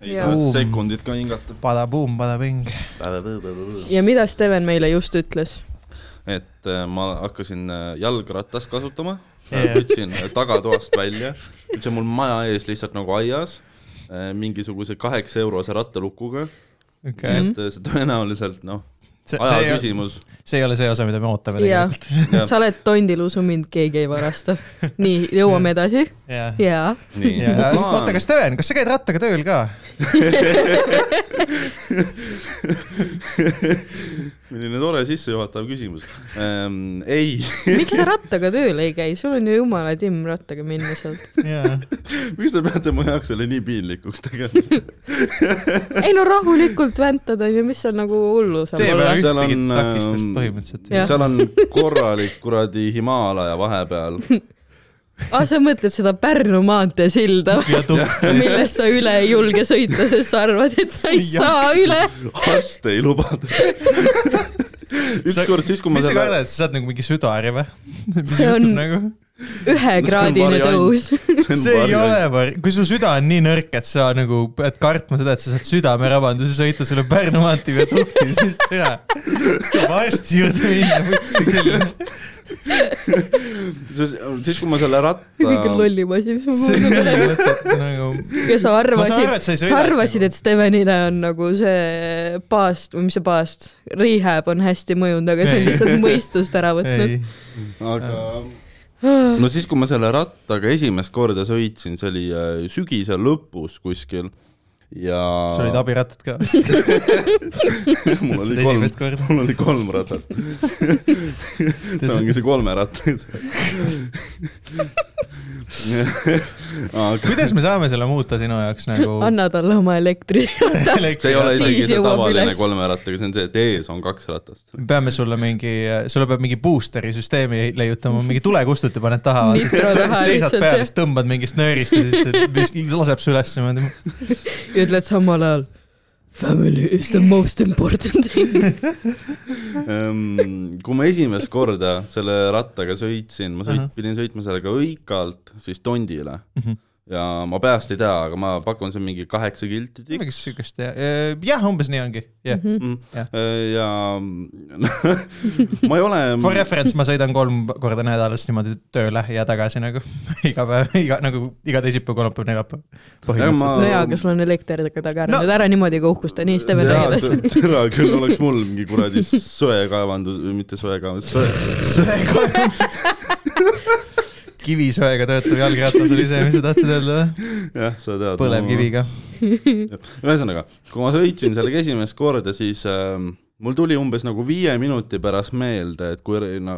ei Jaa. saa Buum. sekundit ka hingata . Badaboom , badabing . ja mida Steven meile just ütles ? et äh, ma hakkasin äh, jalgratast kasutama Jaa. yeah. , võtsin äh, tagatoast välja , nüüd see on mul maja ees lihtsalt nagu aias , mingisuguse kaheksa eurose rattalukuga , okei , et äh, see tõenäoliselt noh , Mm. see , see aja ei ole , küsimus . see ei ole see osa , mida me ootame Jaa. tegelikult . sa oled tondil , usu mind , keegi ei varasta . nii , jõuame edasi . jah . jaa . nii , ja , oota , kas Steven , kas sa käid rattaga tööl ka ? milline tore sissejuhatav küsimus ähm, . ei , miks sa rattaga tööle ei käi , sul on ju jumala timm rattaga minna sealt . jaa , miks te peate mu jaoks selle nii piinlikuks tegema ? ei no rahulikult väntad on ju , mis seal nagu hullu saab tee olla peale . Seal ühtegi on, takistust ähm, põhimõtteliselt . Jah. seal on korralik kuradi Himaalaja vahepeal . aa , Ah, sa mõtled seda Pärnu maantee silda või ? millest sa üle ei julge sõita , sest sa arvad , et sa ei Ei saa jaksa. üle . arst ei lubanud . ükskord siis , kui ma mis sa selle , kardad , sa saad nagu mingi südari või ? mis See on- juhtub nagu ? ühekraadine variant. tõus . see ei ole var- , kui su süda on nii nõrk , et sa nagu pead kartma seda , et sa saad südamerabanduse sõita selle Pärnu maantee viadukti , siis tere . siis tuleb arsti juurde minna , võtsi küll . siis , siis kui ma selle kõige ratta , lollim asi , mis ma see kuulnud ei olen . ole mõtet nagu . ja sa aru, arvasid et sa ei , sa sõida, arvasid , nagu. et Stevenile on nagu see paast või mis see paast , rehab on hästi mõjunud , aga see on Ei. lihtsalt mõistust ära võtnud . ei , aga Ah. no siis , kui ma selle rattaga esimest korda sõitsin , see oli äh, sügise lõpus kuskil ja sa olid abirattad ka . mul oli kolm , esimest korda . mul oli kolm ratast , see ongi see kolme rattaid aga kuidas me saame selle muuta sinu jaoks nagu ? anna talle oma elektriratast . see ei ole Siis isegi see jõuab tavaline üles. kolme rattaga , see on see , et ees on kaks ratast . me peame sulle mingi , sulle peab mingi booster'i süsteemi leiutama , mingi tulekustuti paned taha . Nitro taha seisad lihtsalt, peal , jah. siis tõmbad mingist nöörist ja siis see- mis laseb su üles niimoodi . ja ütled samal ajal Family is the most important thing . Ehm, kui ma esimest korda selle rattaga sõitsin , ma sõit, pidin sõitma sellega Õikalt siis Tondile ja ma peast ei tea , aga ma pakun , see on mingi kaheksa kilti tikk midagi siukest jah , jah , umbes nii ongi , jah . Mhm. jah. ja ma ei ole For reference ma sõidan kolm korda nädalas niimoodi tööle ja tagasi nagu iga päev , iga nagu iga teisipäev , kolmapäev , neljapäev . põhimõtteliselt . no jaa , aga sul on elekter taga ära No. no. , ära niimoodi ka uhkusta , nii , Steven , räägi edasi . tera küll oleks mul mingi kuradi söekaevandus , mitte söekaevandus , söe , söekaevandus . kivisöega töötav jalgratas oli see , mis sa tahtsid öelda või ? jah , sa tead . põlevkiviga . ühesõnaga , kui ma sõitsin sellega esimest korda , siis ähm, mul tuli umbes nagu viie minuti pärast meelde , et kui no, ,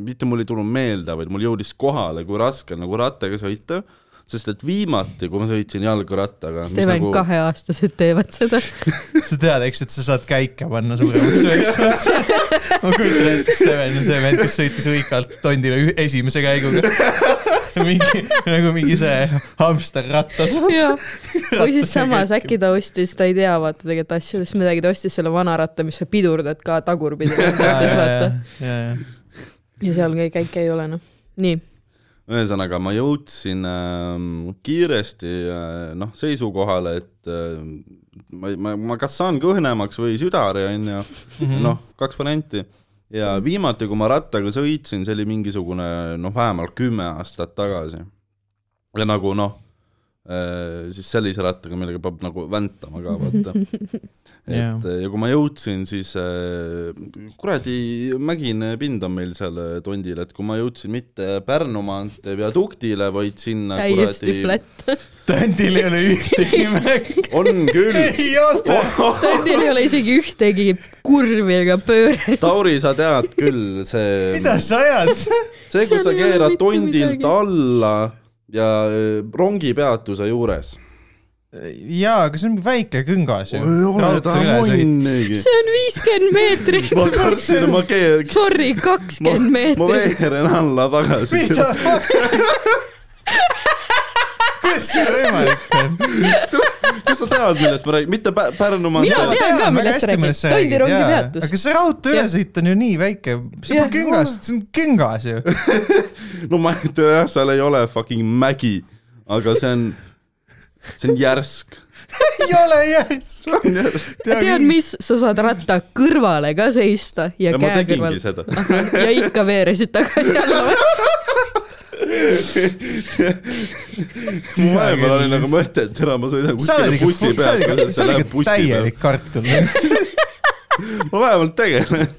mitte mul ei tulnud meelde , vaid mul jõudis kohale , kui raske on nagu rattaga sõita , sest et viimati , kui ma sõitsin jalgrattaga , mis Steven nagu , kaheaastased teevad seda . sa tead , eks , et sa saad käike panna suuremaks sööks . ma kujutan ette , Steven on see vend , kes sõitis õigalt tondile ü- esimese käiguga . mingi , nagu mingi see hamster rattas . või siis samas , äkki ta ostis , ta ei tea vaata tegelikult asjadest midagi , ta ostis selle vana ratta , mis sa pidurdad ka tagurpidi mõttes vaata . ja seal käi- käike ei ole noh . nii , ühesõnaga ma jõudsin ähm, kiiresti äh, noh , seisukohale , et äh, ma , ma , ma kas saan kõhnemaks või südari , on ju noh , kaks varianti ja viimati , kui ma rattaga sõitsin , see oli mingisugune noh , vähemalt kümme aastat tagasi . ja nagu noh , siis sellise rattaga , millega peab nagu väntama ka vaata . et Jaa. eh, ja kui ma jõudsin , siis eh, kuradi mägine pind on meil seal eh, tondil , et kui ma jõudsin mitte Pärnu maantee viaduktile , vaid sinna täiesti kuradi , flat . tondil ei ole ühtegi märki . on küll , Oh, ei ole . Teil ei ole isegi ühtegi kurvi ega pööret . Tauri , sa tead küll , see mida sa ajad ? see , kus sa Seal ei ole keerad mitte tondilt midagi. alla ja öö, rongipeatuse juures . jaa , aga see on väike küngas ju . see on viiskümmend meetrit . ma kartsin , ma keer- , Sorry , ma kakskümmend , ma meetrit . veeren alla tagasi . mida ? kuidas see võimalik on ? kas sa tead , millest ma räägin , mitte Pä- Pärnumaa . Mina tean ka, millest sa räägid. Tondi rongipeatus. aga see raudtee Jah. ülesõit on ju nii väike , see Jah. pole küngas , see on küngas ju . no ma ei tea , jah , seal ei ole fucking mägi , aga see on , see on järsk . ei ole järjest . tead , mis , sa saad ratta kõrvale ka seista ja, ja ja ma käe kõrval tegingi seda . ja ikka veeresid tagasi alla . mu vahepeal oli nagu mõte , nagu et täna ma sõidan sa oled kuskile ikka , sa bussi peale , oled ikka , sest sa see oled läheb ikka bussi peale . täielik kartul . ma vähemalt tegelen .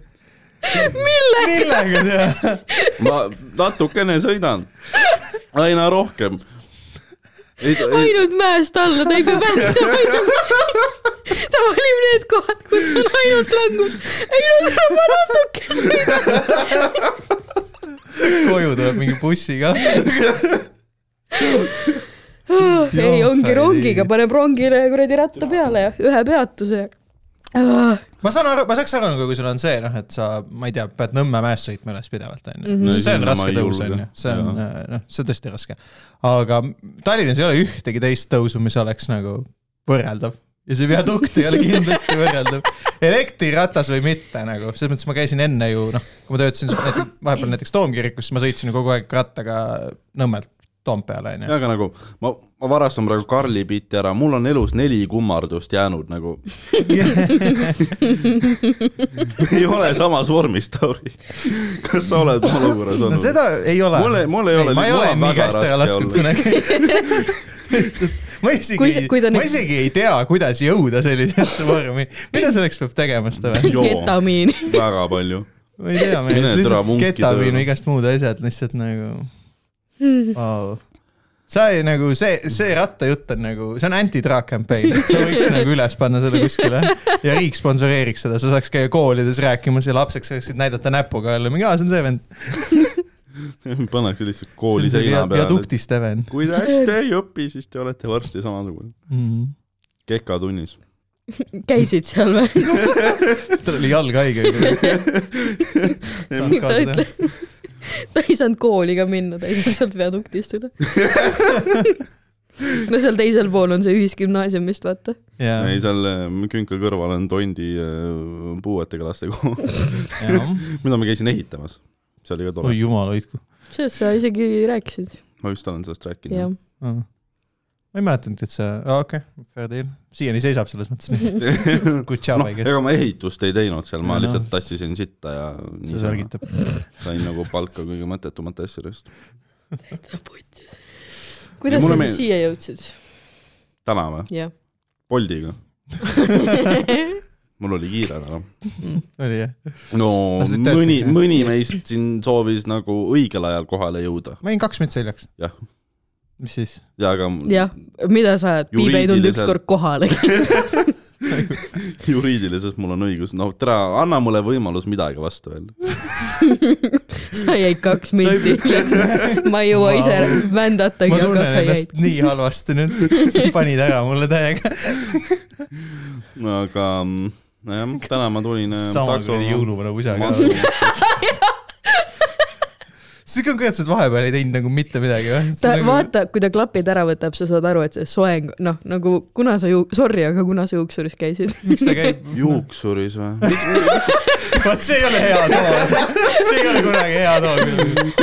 millega teha ? ma natukene sõidan , aina rohkem . ainult mäest alla , ta ei pea päästma , ei saa . ta valib need kohad , kus on ainult langus . ei no ta on natuke sõitnud . koju tuleb mingi bussiga . ei , ongi Joo, rongiga ei. , paneb rongile kuradi ratta peale ja ühe peatuse . ma saan aru , ma saaks aru nagu , kui sul on see noh , et sa , ma ei tea , pead Nõmme mäest sõitma üles pidevalt , Mhm. onju No . see on sinna ma raske ei tõus , julge. onju , see on Jah. äh, noh , see on tõesti raske . aga Tallinnas ei ole ühtegi teist tõusu , mis oleks nagu võrreldav ja see viadukt ei ole kindlasti võrreldav . elektriratas või mitte nagu , selles mõttes ma käisin enne ju noh , kui ma töötasin näite- vahepeal näiteks Toomkirikus , siis ma sõitsin ju kogu aeg rattaga Nõmmelt Toompeale , onju . aga nagu ma , ma varastan praegu Karli bitti ära , mul on elus neli kummardust jäänud nagu . ei ole samas vormis , Tauri . kas sa oled mu olukorras no olnud ? seda ei ole . Mul ei- mul ei ole ma ei nii- ole mul on nii väga käest raske ära lasknud olla. kunagi . ma isegi Kui see- , kui ta ma nüüd- isegi ei tea , kuidas jõuda sellisesse vormi . mida selleks peab tegema seda või ? Joo. ketamiini . väga palju . ma ei tea , meil Mine on türa lihtsalt vunki ketamiin tööle. ja igast muud asjad lihtsalt nagu Hmm. wow. . sa ei nagu see , see rattajutt on nagu , see on anti-drug campaign , sa võiks nagu üles panna selle kuskile ja riik sponsoreeriks seda , sa saaks käia koolides rääkimas ja lapseks saaksid näidata näpuga jälle , mingi aa , see on see vend . pannakse lihtsalt kooli seina peale . viaduktist Even kui te hästi ei õpi , siis te olete varsti samasugune . mm. . Keka tunnis . käisid seal või ? tal oli jalg haige . ta ütleb , ta ei saanud kooli ka minna , ta ei saanud sealt viaduktist üle . no seal teisel pool on see ühisgümnaasium vist , vaata . ei , seal äh, künka kõrval on Tondi äh, puuetega lastekool , mida ma käisin ehitamas . see oli ka tore oi . jumal hoidku . sellest sa isegi rääkisid . ma vist olen sellest rääkinud jah .. ma ei mäletanudki , et see , okei , fair deal , siiani seisab selles mõttes nüüd . Good job noh , no, , I guess ega ma ehitust ei teinud seal , ma Jaa. lihtsalt tassisin sitta ja see niisama särgitab . sain nagu palka kõige mõttetumate asjadest . kuidas Ja mulle sa siis meeldib- siia jõudsid ? täna või ? jah . Boldiga , mul oli kiire täna . oli jah ? no Lasid tööd mõni , teha? mõni meist siin soovis nagu õigel ajal kohale jõuda , ma jäin kaks meetrit seljaks . Jah. . mis siis ? ja aga jah , mida sa ajad , Piip ei tulnud Juriidiliselt- ükskord kohale . juriidiliselt mul on õigus , no tere , anna mulle võimalus midagi vastu öelda . sa jäid kaks ei- minti hiljaks . ma ei jõua ise Vau. vändatagi , ma aga tunnen sa jäid ennast . nii halvasti nüüd , panid ära mulle täiega . aga mm, nojah , täna ma tulin äh, sama takso- kuradi jõuluvana pusa ka . ma- sa konkreetselt vahepeal ei teinud nagu mitte midagi või ? ta nagu... , vaata , kui ta klapid ära võtab , sa saad aru , et see soeng , noh , nagu kuna sa ju- , sorry , aga kuna sa juuksuris käisid ? miks ta käib ? juuksuris või ? vot see ei ole hea toon , see ei ole kunagi hea toon .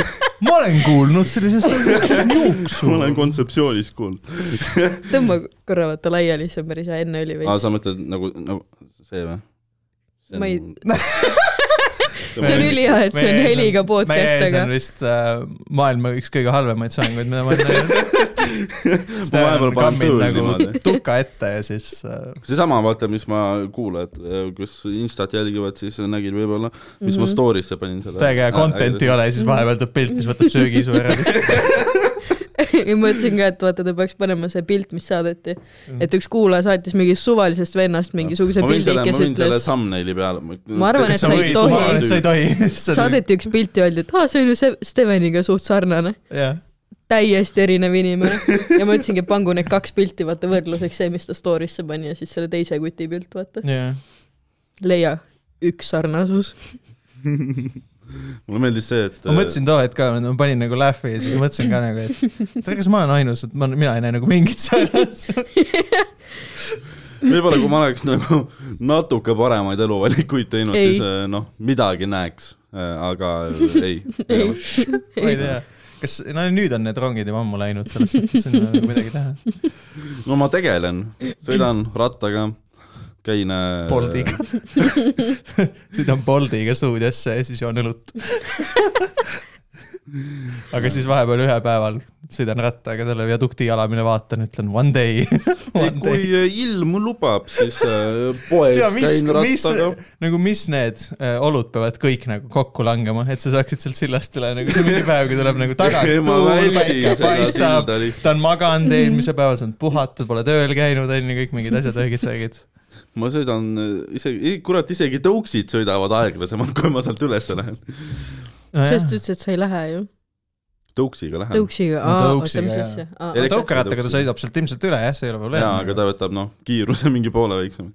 ma olen kuulnud sellisest asjast nagu juuksu ma . olen kontseptsioonis kuulnud . tõmba korra vaata laiali , see on päris hea , enne oli aa , veits . sa mõtled nagu , nagu see või ? Ma ei- see on ülihea , et see on Meie ees on- heliga meie podcast , ees aga on vist äh, maailma üks kõige halvemaid soenguid , mida ma olen näinud . ma vahepeal panen tööl niimoodi . tuka nagu ette ja siis äh, seesama , vaata , mis ma kuulajad , kes Instat jälgivad , siis nägid võib-olla , mis mm Mhm. -hmm. ma story'sse panin selle . Äh, täiega content'i ei . ole ja siis Mm. vahepeal tuleb pilt , mis võtab söögi su ära . ja ma mõtlesin ka , et vaata , ta peaks panema see pilt , mis saadeti . Mhm. et üks kuulaja saatis mingist suvalisest vennast mingisuguse ma võin pildi selle ,, ma kes võin selle ütles , thumbnaili peale . Ma arvan, et sa sa ei võid , tohi. ma arvan , et sa ei tohi . nagu, saadeti üks pilt ja öeldi , et aa , see on ju see Steveniga suht sarnane . jah , täiesti erinev inimene ja ma ütlesingi , et pangu need kaks pilti , vaata võrdluseks see , mis ta story'sse pani ja siis selle teise kuti pilt , vaata . jah . leia üks sarnasus . mulle meeldis see , et . ma mõtlesin too hetk ka , ma panin nagu lähvi ja siis mõtlesin ka nagu , et oota, kas ma olen ainus , et ma , mina ei näe nagu mingit sarnast . äh, võib-olla kui ma oleks nagu natuke paremaid eluvalikuid teinud , äh, Ei. siis eh, noh , midagi näeks , aga ei, ei. . ma ei tea , kas , no nüüd on need rongid juba ammu läinud , selles suhtes sinna ei ole nagu midagi teha . no ma tegelen , sõidan rattaga , käin . äh, Boldiga . sõidan Boldiga stuudiosse ja siis joon õlut . aga siis vahepeal ühel päeval sõidan rattaga selle viadukti jalamine , vaatan , ütlen one day , ei , one kui äh, day . ilm lubab , siis äh, poes tea , mis käin , mis rattaga ., nagu mis need äh, olud peavad kõik nagu kokku langema , et sa saaksid sealt sillast üle , nagu see mingi päev , kui tuleb nagu tagant Ei, ma tuul , väldin päike seda paistab silda lihtsalt. , ta on maganud eelmise päeval , sa oled puhatud , pole tööl käinud , on ju , kõik mingid asjad , õigid-sõigid . ma sõidan äh, isegi , kurat , isegi tõuksid sõidavad aeglasemalt , kui ma sealt üles lähen . sest ütlesid , et sa ei lähe ju . tõuksiga lähen . tõuksiga , No aa , oota , tõuksiga, mis jaa. asja ? Elektri- tõukerattaga ta sõidab sealt ilmselt üle jah , see ei ole jaa , probleem . aga ta võtab noh , kiiruse mingi poole väiksema .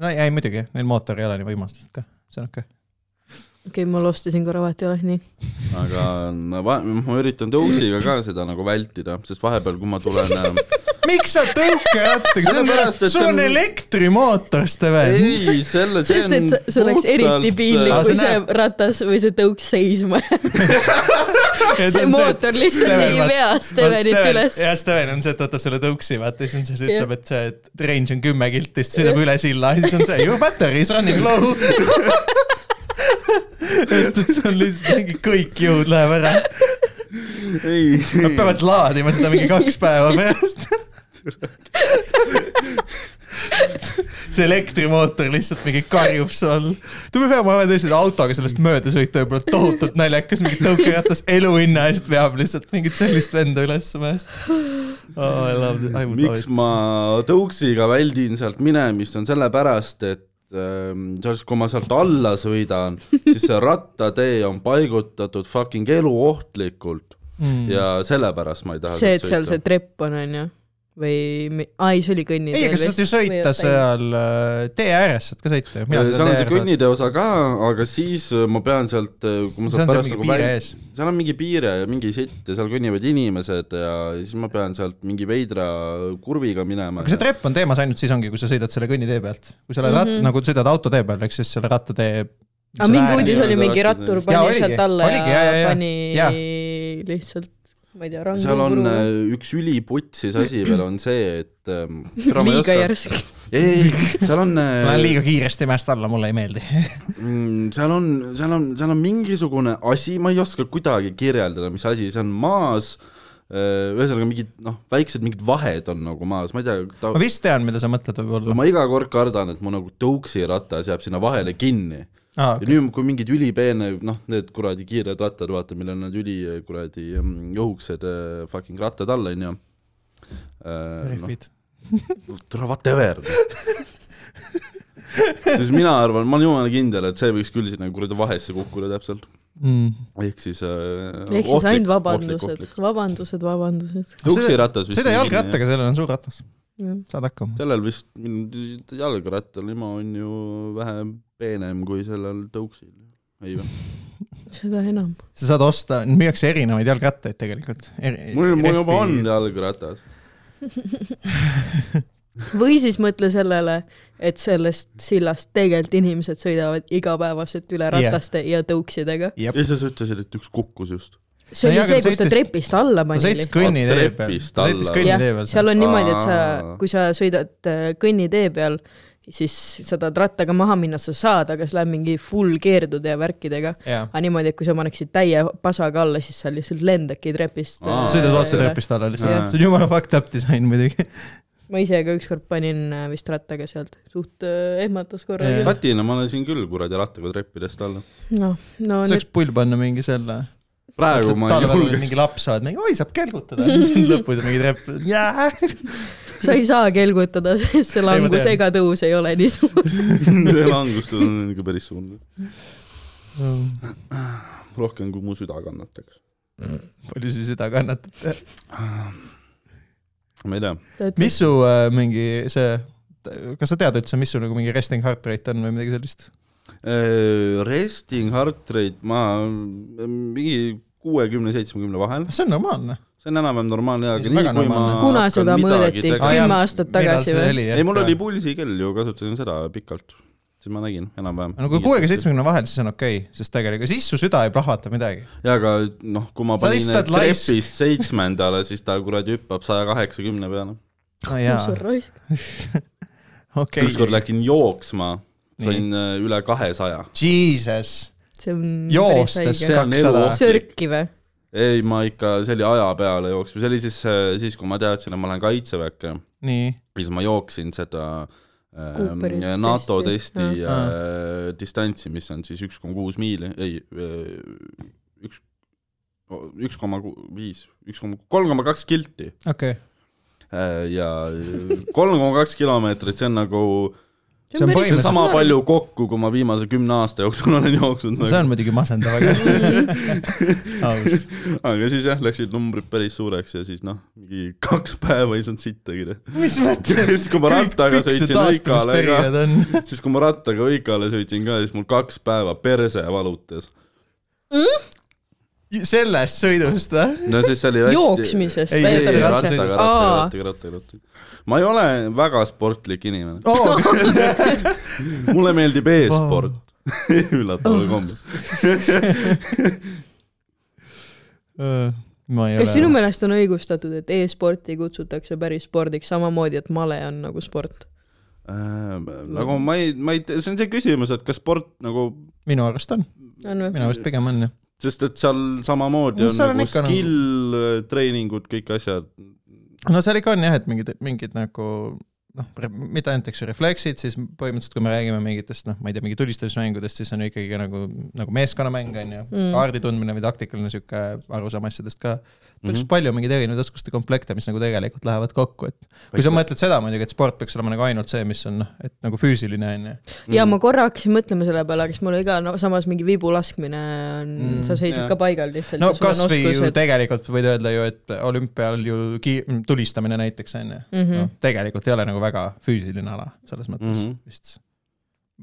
no ei muidugi , neil mootor ei ole nii võimas lihtsalt ka , see on okei okay. . okei , ma lostisin korra , vahet ei ole , nii . aga no, va- ma üritan tõuksiga ka seda nagu vältida , sest vahepeal , kui ma tulen äh, miks sa tõukerattaga , sul Sellepärast, on et , sul see on on- elektrimootor , Steven . ei , selle , see sest et on see- see oleks eriti piinlik Aa, , äh, see kui see näeb- ratas või see tõuks seisma jääb . see mootor lihtsalt Steven, ei vaat- vea Stevenit üles . ja Steven on see , et võtab selle tõuksi , vaata , siis on see , see Jah. ütleb , et see et range on kümme kilti , siis sõidab üle silla , siis on see your battery is running low . sest et see on lihtsalt mingi kõik jõud läheb ära , äh, ei nad , peavad laadima seda mingi kaks päeva pärast . see elektrimootor lihtsalt mingi karjub su all . tule pea , ma olen tõesti autoga sellest mööda sõita võib-olla tohutult naljakas , mingi tõukeratas eluhinna eest veab lihtsalt mingit sellist venda üles mäest oh, . I love it , I would miks ma tõuksiga väldin sealt minemist , on sellepärast , et ähm, selles , kui ma sealt alla sõidan , siis see rattatee on paigutatud fucking eluohtlikult mm. ja sellepärast ma ei taha see , et seal see . trepp on , on ju ? või , ai , see oli kõnniteel . ei , aga sa saad ju sõita . seal äh, tee ääres , saad ka sõita ju . seal on Äh, see . kõnnitee osa ka , aga siis äh, ma pean sealt , kui ma sealt see on seal pärast mingi nagu piire välja , ees . seal on mingi piire ja mingi sitt ja seal kõnnivad inimesed ja siis ma pean sealt mingi veidra kurviga minema . aga see trepp on teemas ainult siis ongi , kui sa sõidad selle kõnnitee pealt . kui sa oled rat- , Mhm. nagu sõidad autotee peal , ehk siis selle rattatee . aga mingi uudis oli Nii-öelda mingi rattad, jah. rattur pani Jaa, oligi, sealt alla oligi, ja jaa, jaa, jaa. pani Jaa. lihtsalt , ma ei tea , rangu . seal on äh, üks üliputsis asi veel on see , et ähm, tere, ma ei liiga oska- järsk . ei , ei , seal on ma lähen liiga kiiresti mäest alla , mulle ei meeldi . mm, seal on , seal on , seal on mingisugune asi , ma ei oska kuidagi kirjeldada , mis asi see on maas , ühesõnaga mingid noh , väiksed mingid vahed on nagu maas , ma ei tea ta... ma , vist tean , mida sa mõtled no võib-olla . ma iga kord kardan , et mu nagu tõuksiratas jääb sinna vahele kinni . aa , ja nüüd , kui mingid ülipeene , noh , need kuradi kiired rattad , vaata , millel on need üli kuradi mm, jõuksed eh, fucking rattad all , äh, onju . noh. rehvid . tule whatever . siis mina arvan , ma olen jumala kindel , et see võiks küll sinna kuradi vahesse kukkuda täpselt , Mm. ehk siis äh, ehk siis ainult vabandused ,. vabandused , vabandused . tõuksiratas vist . sõida jalgrattaga , sellel on suur ratas , saad hakkama . sellel vist , jalgrattal ima on ju vähe peenem kui sellel tõuksil . ei või ? seda enam . sa saad osta , müüakse erinevaid jalgrattaid tegelikult . mul , mul juba on jalgratas . või siis mõtle sellele , et sellest sillast tegelikult inimesed sõidavad igapäevaselt üle Jah. rataste ja tõuksidega . ja siis sa ütlesid , et üks kukkus just . see No oli jaa, aga see , ta kus ta sõitis- trepist alla ta pani sõitis lihtsalt . kõnnitee peal , trepist ta sõitis alla. kõnnitee jah , peal . seal on niimoodi , et sa Aa. , kui sa sõidad äh, kõnnitee peal , siis sa tahad rattaga maha minna , sa saad , aga sa lähed mingi full keerdude ja värkidega . jaa , aga niimoodi , et kui sa paneksid täie pasaga alla , siis sa lihtsalt lendadki trepist . äh, Aa. sõidad otse . trepist alla Jah. lihtsalt , see on jumala fucked up disain muidugi . ma ise ka ükskord panin äh, vist rattaga sealt , suht äh, ehmatas korra Jaa. küll . tatina ma lasin küll kuradi rattaga treppidest alla . noh , no nüüd saaks pull panna mingi selle praegu ma ei talvel olid julgeks mingi laps , oled mingi , oi , saab kelgutada , siis on lõpus mingi trepp , jää . sa ei saa kelgutada , sest see ma langus tean. ega tõus ei ole nii suur . see langus on ikka päris suur , rohkem kui mu süda kannataks . palju su süda kannatab ? ma ei tea , mis su äh, mingi see , kas sa tead üldse , mis sul nagu mingi resting heart rate on või midagi sellist ? Äh, resting heart rate ma mm, mingi kuuekümne , seitsmekümne vahel , see on normaalne . see on enam-vähem normaalne , aga See on nii väga kui ma normaalne. kuna hakkan seda midagi mõõdeti , tegema- Aa, jaa, kümme aastat tagasi või ?? ei , mul oli pulsikell ju , kasutasin seda pikalt . siis ma nägin enam-vähem . no kui kuue ja . seitsmekümne vahel , siis on okei okay, , sest tegelikult siis su süda ei plahvata midagi . ja aga noh , kui ma Sa panin lihtsalt laisk- trepist seitsmendale , siis ta kuradi hüppab saja kaheksakümne peale . no jaa , okei ükskord okay. . läksin jooksma , sain äh, üle kahesaja . Jesus , see on . joostes See on elu kakssada oht. . sörki või ? ei , ma ikka , see oli aja peale jooksma , see oli siis , siis kui ma teadsin , et ma lähen kaitseväkke , nii , siis ma jooksin seda ähm, Cooperi NATO testi. testi Ah. äh, distantsi , mis on siis üks koma kuus miili , ei , üks , üks koma ku- viis , üks koma , kolm koma kaks kilti okei okay. . Äh, ja kolm koma kaks kilomeetrit , see on nagu , See see on on Põhimõtteliselt- sama palju kokku , kui ma viimase kümne aasta jooksul olen jooksnud nagu. no see on muidugi masendav , aga aus . aga siis jah , läksid numbrid päris suureks ja siis noh , mingi kaks päeva ei saanud sittagi . noh. mis mõttes ? siis kui ma rattaga sõitsin Õikale ka , taastamisperiood on . siis kui ma rattaga Õikale sõitsin ka , siis mul kaks päeva perse valutas . sellest sõidust või ? no siis oli hästi . jooksmisest . Ei, ei, ei , ei, rattaga , rattaga. rattaga , Aa. rattaga , rattaga , rattaga . ma ei ole väga sportlik inimene , oo , mulle meeldib e-sport . Oh. üllataval kombel . Äh, ma ei kas sinu ole . meelest on õigustatud , et e-sporti kutsutakse päris spordiks samamoodi , et male on nagu sport ? nagu ma ei , ma ei , see on see küsimus , et kas sport nagu minu arust on , on või ? minu arust pigem on jah . sest et seal samamoodi No on seal on nagu ikka nagu- skill , treeningud , kõik asjad . no seal ikka on jah , et mingid , mingid nagu noh , mitte ainult , eks ju , refleksid , siis põhimõtteliselt kui me räägime mingitest noh , ma ei tea , mingi tulistamismängudest , siis on ju ikkagi ka nagu , nagu meeskonnamäng on ju Mm. mm. , kaardi tundmine või taktikaline sihuke arusaam asjadest ka . päris mm Mhm. -hmm. palju mingeid erinevaid oskuste komplekte , mis nagu tegelikult lähevad kokku , et kui sa Aitäh. mõtled seda muidugi , et sport peaks olema nagu ainult see , mis on noh , et nagu füüsiline on ju . ja ma Mhm. korra hakkasin mõtlema selle peale , kas mul iga no, samas mingi viibu laskmine on mm, Mm, , sa seisad jah. ka paigal lihtsalt . no kasvõi ju tegelikult võid öelda ju , et olümpial ju ki- , tulistamine näiteks on ju mm . noh -hmm. , tegelikult ei ole nagu väga füüsiline ala selles mõttes mm Mhm. -hmm. vist .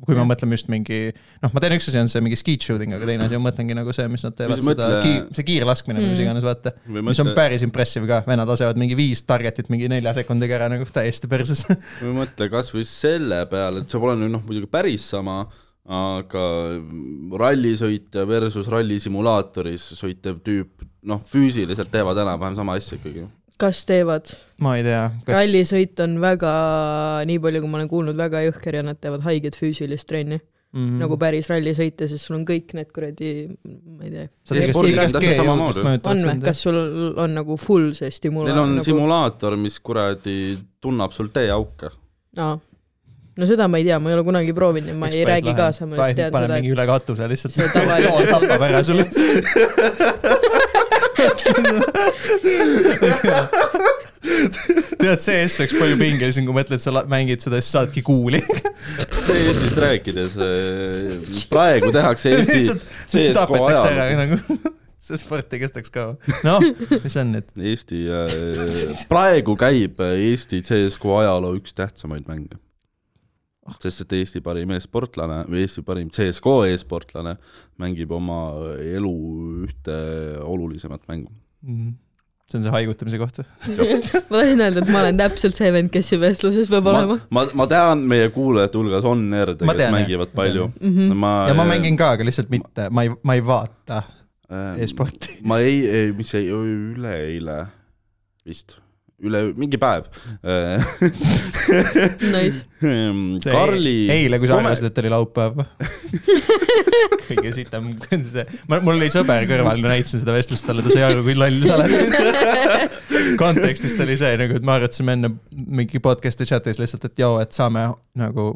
kui me mõtleme just mingi , noh , ma tean , üks asi on see mingi skeet shooting , aga teine asi on , mõtlengi nagu see , mis nad teevad , sa seda mõtle- kiir, see kiirlaskmine või mis Mm. iganes , vaata . või mis on mõtle , päris impressive ka , vennad lasevad mingi viis target'it mingi nelja sekundiga ära nagu täiesti perses . või mõtle kasvõi selle peale , et see pole nüüd noh , muidugi päris sama , aga rallisõitja versus rallisimulaatoris sõitev tüüp , noh , füüsiliselt teevad enam-vähem sama asja ikkagi . kas teevad ? ma ei tea , kas , rallisõit on väga , nii palju , kui ma olen kuulnud , väga jõhker ja nad teevad haiget füüsilist trenni mm. mm, nagu päris rallisõite , sest sul on kõik need kuradi , ma ei tea . sa teed e-spordis igast on täpselt G-jõudlust samamoodi. mõjutavad on või , sind, jah. kas sul on nagu full see Neil stimulaator on nagu... simulaator , mis kuradi tunnab sul teeauke . Aa. no seda ma ei tea , ma ei ole kunagi proovinud ja ma Oleks ei päris räägi lahe. kaasa , ma lihtsalt tean panen seda , mingi üle katuse lihtsalt . See tavaline- joon tapab ära sulle . tead , CS oleks palju pingelisem , kui mõtled , sa la- mängid seda , siis saadki kuuli . Eestist rääkides , praegu tehakse Eesti CSGO tapetakse ära ajalugu . nagu . see sport ei kestaks kaua . noh , mis on nüüd ? Eesti , praegu käib äh, Eesti CSGO ajaloo üks tähtsamaid mänge . Ah. sest et Eesti parim e-sportlane või Eesti parim CSGO e-sportlane mängib oma äh, elu ühte olulisemat mängu . Mm, see on see haigutamise koht või ? et ma tahtsin öelda , et ma olen täpselt see vend , kes siin vestluses peab ma olema ., ma, ma tean , meie kuulajate hulgas on nerde , Ma kes tean, jah. Mhm. mängivad palju . Mm -hmm. ma ja ma mängin ka , aga lihtsalt mitte , ma ei , ma ei vaata äh, e-sporti . ma ei, ei , mis see , üleeile vist , üle , mingi päev Äh, Nice , Karli eile , kui sa Kome- arvasid , et oli laupäev kõige sitem , see , mul oli sõber kõrval , ma näitasin seda vestlust talle , ta sai aru , kui loll sa oled . kontekstist oli see nagu , et me arutasime enne mingi podcast'i chat'is lihtsalt , et joo , et saame nagu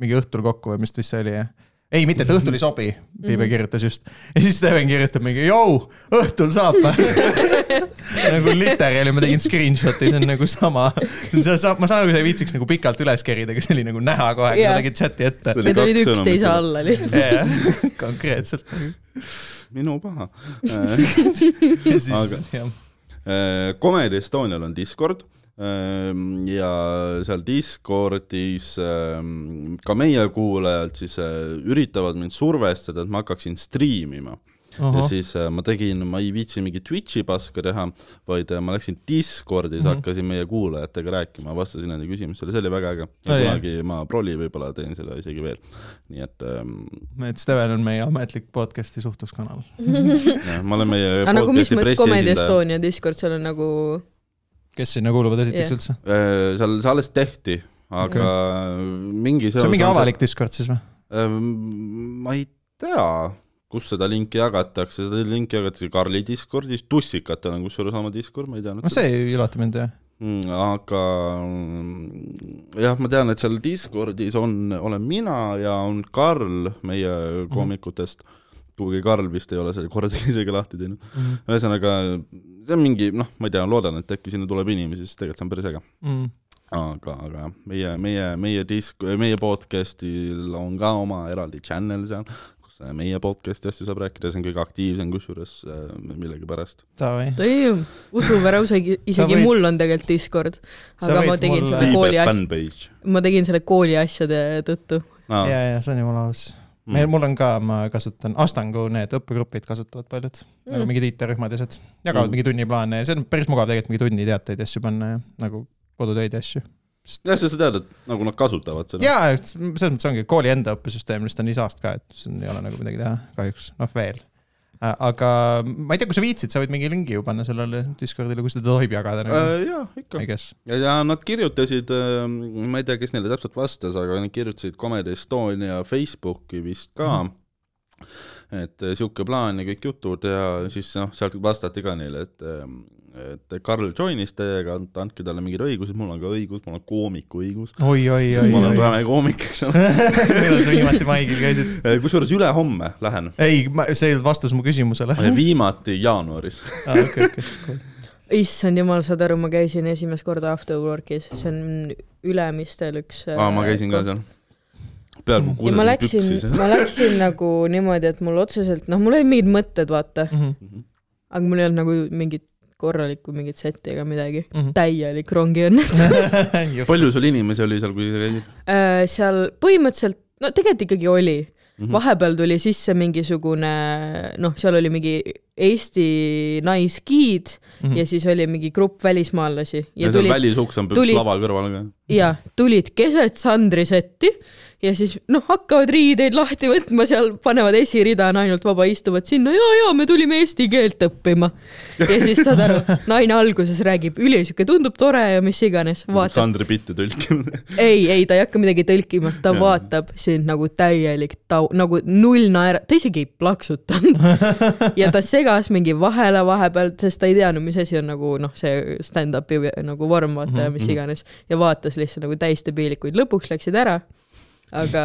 mingi õhtul kokku või mis vist see oli , jah ? ei , mitte , et õhtul ei sobi , Piibe Mhm. kirjutas just . ja siis Steven kirjutab mingi , joo , õhtul saab . nagu literaali ma tegin screenshot'i , see on nagu sama , see on seesama , ma saan aru , sa ei viitsiks nagu pikalt üles kerida , aga see oli nagu näha kohe , kui Jaa. sa tegid chat'i ette . See oli need olid kaks sõna, üksteise mida- alla lihtsalt . jah , konkreetselt . minu paha . ja siis Aga- aga... , jah . äh, Comedy Estonial on Discord ähm, ja seal Discordis ähm, ka meie kuulajad siis äh, üritavad mind survestada , et ma hakkaksin striimima . ja siis äh, ma tegin , ma ei viitsinud mingi Twitch'i paska teha , vaid äh, ma läksin Discordis mm , Mhm. -hmm. hakkasin meie kuulajatega rääkima , vastasin nende küsimustele , see oli väga äge . Oli, jah. kunagi ma proli võib-olla teen seda isegi veel . nii et ähm, et Steven on meie ametlik podcast'i suhtluskanal . jah, ma olen meie aga nagu mis podcast'i mõttes Comedy pressiesindaja . Estonia Discord , seal on nagu kes sinna kuuluvad esiteks Jah. üldse ? Äh, seal , see alles tehti , aga mingi see on mingi avalik Discord siis või ? Ähm, ma ei tea , kus seda linki jagatakse , seda linki jagatakse Karli Discordis , tussikatel on kusjuures oma Discord , ma ei teadnud no see ei üllata mind jah . Mm, aga mm, jah , ma tean , et seal Discordis on , olen mina ja on Karl meie Mhm. koomikutest , kuigi Karl vist ei ole selle kordagi isegi lahti teinud . ühesõnaga , see on mingi noh , ma ei tea , loodan , et äkki sinna tuleb inimesi , sest tegelikult see on päris äge . Mm, aga , aga jah , meie , meie , meie disk , meie podcast'il on ka oma eraldi channel seal , kus äh, meie podcast'i asju saab rääkida , see on kõige aktiivsem kusjuures äh, millegipärast . Davai . ei , usu või rausa , isegi võid- võid, mul on tegelikult Discord , sa aga ma võid tegin mulle- selle Liibe kooli asja , fanpage ma tegin selle kooli asjade tõttu . ah, . ja , ja see on jumala aus . Mm. meil , mul on ka , ma kasutan , Astangu need õppegrupid kasutavad paljud mm. , nagu Mm. mingid IT-rühmad ja asjad , Mm. jagavad mm. mingi tunniplaane ja see on päris mugav tegelikult mingi tunniteateid ja asju panna ja nagu kodutöid ja asju . jah , sest sa tead , et nagu nad kasutavad seda . ja et selles mõttes ongi kooli enda õppesüsteem , lihtsalt on isast ka , et siin ei ole nagu midagi teha , kahjuks , noh veel . aga ma ei tea , kui sa viitsid , sa võid mingi lingi ju panna sellele Discordile , kui seda tohib jagada nagu, Äh, jaa , ikka . I guess . ja , ja nad kirjutasid , ma ei tea , kes neile täpselt vastas , aga nad kirjutasid Comedy Estonia Facebooki vist ka mm . -hmm. et äh, sihuke plaan ja kõik jutud ja siis noh , sealt vastati ka neile , et , et Karl joinis teiega , andke talle mingid õigused , mul on ka õigus , mul on koomiku õigus . oi , oi , oi , ma olen oi . praegu koomik , eks ole . millal sa viimati maigil käisid ? kusjuures ülehomme lähen , ei , see ei olnud vastus mu küsimusele . viimati jaanuaris . Ah, okei , okei , cool . issand jumal , saad aru , ma käisin esimest korda Afterworkis , see on Ülemistel üks . äh, aa , ma käisin ka . seal . peaaegu ja ma kuulasin läksin püksi , seal . ma läksin nagu niimoodi , et mul otseselt , noh , mul olid mingid mõtted , vaata , Mhm. aga mul ei olnud nagu mingit korralikku mingit setti ega midagi . täielik rongiõnnetus . palju sul inimesi oli seal , kui sa käisid ? Äh, seal põhimõtteliselt , no tegelikult ikkagi oli mm . Mhm. -hmm. vahepeal tuli sisse mingisugune , noh , seal oli mingi Eesti naisgiid mm -hmm. ja siis oli mingi grupp välismaalasi ja ja seal tulid välisuks on tulid- üks lava kõrval ka . ja tulid keset Sandri setti ja siis noh , hakkavad riideid lahti võtma , seal panevad esirida , on ainult vaba , istuvad sinna ja , ja me tulime eesti keelt õppima . ja siis saad aru , naine alguses räägib üli sihuke , tundub tore ja mis iganes , vaatab Sandri Pitte tõlkimine . ei , ei , ta ei hakka midagi tõlkima , ta Jaa. vaatab sind nagu täielik tau- , nagu null naera- , ta isegi ei plaksutanud . ja ta segas mingi vahele vahepeal , sest ta ei teadnud , mis asi on nagu noh , see stand-up'i või- nagu vorm , vaata ja mis Mhm. iganes . ja vaatas lihtsalt nagu täis debiilikuid , lõpuks läksid ära . aga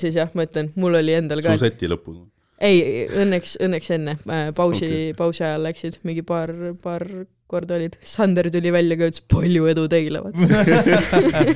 siis jah , ma ütlen , mul oli endal ka su , seti lõpus . ei , õnneks , õnneks enne äh, pausi Okei. okay. , pausi ajal läksid mingi paar , paar korda olid . Sander tuli välja ka , ütles palju edu teile , vaata .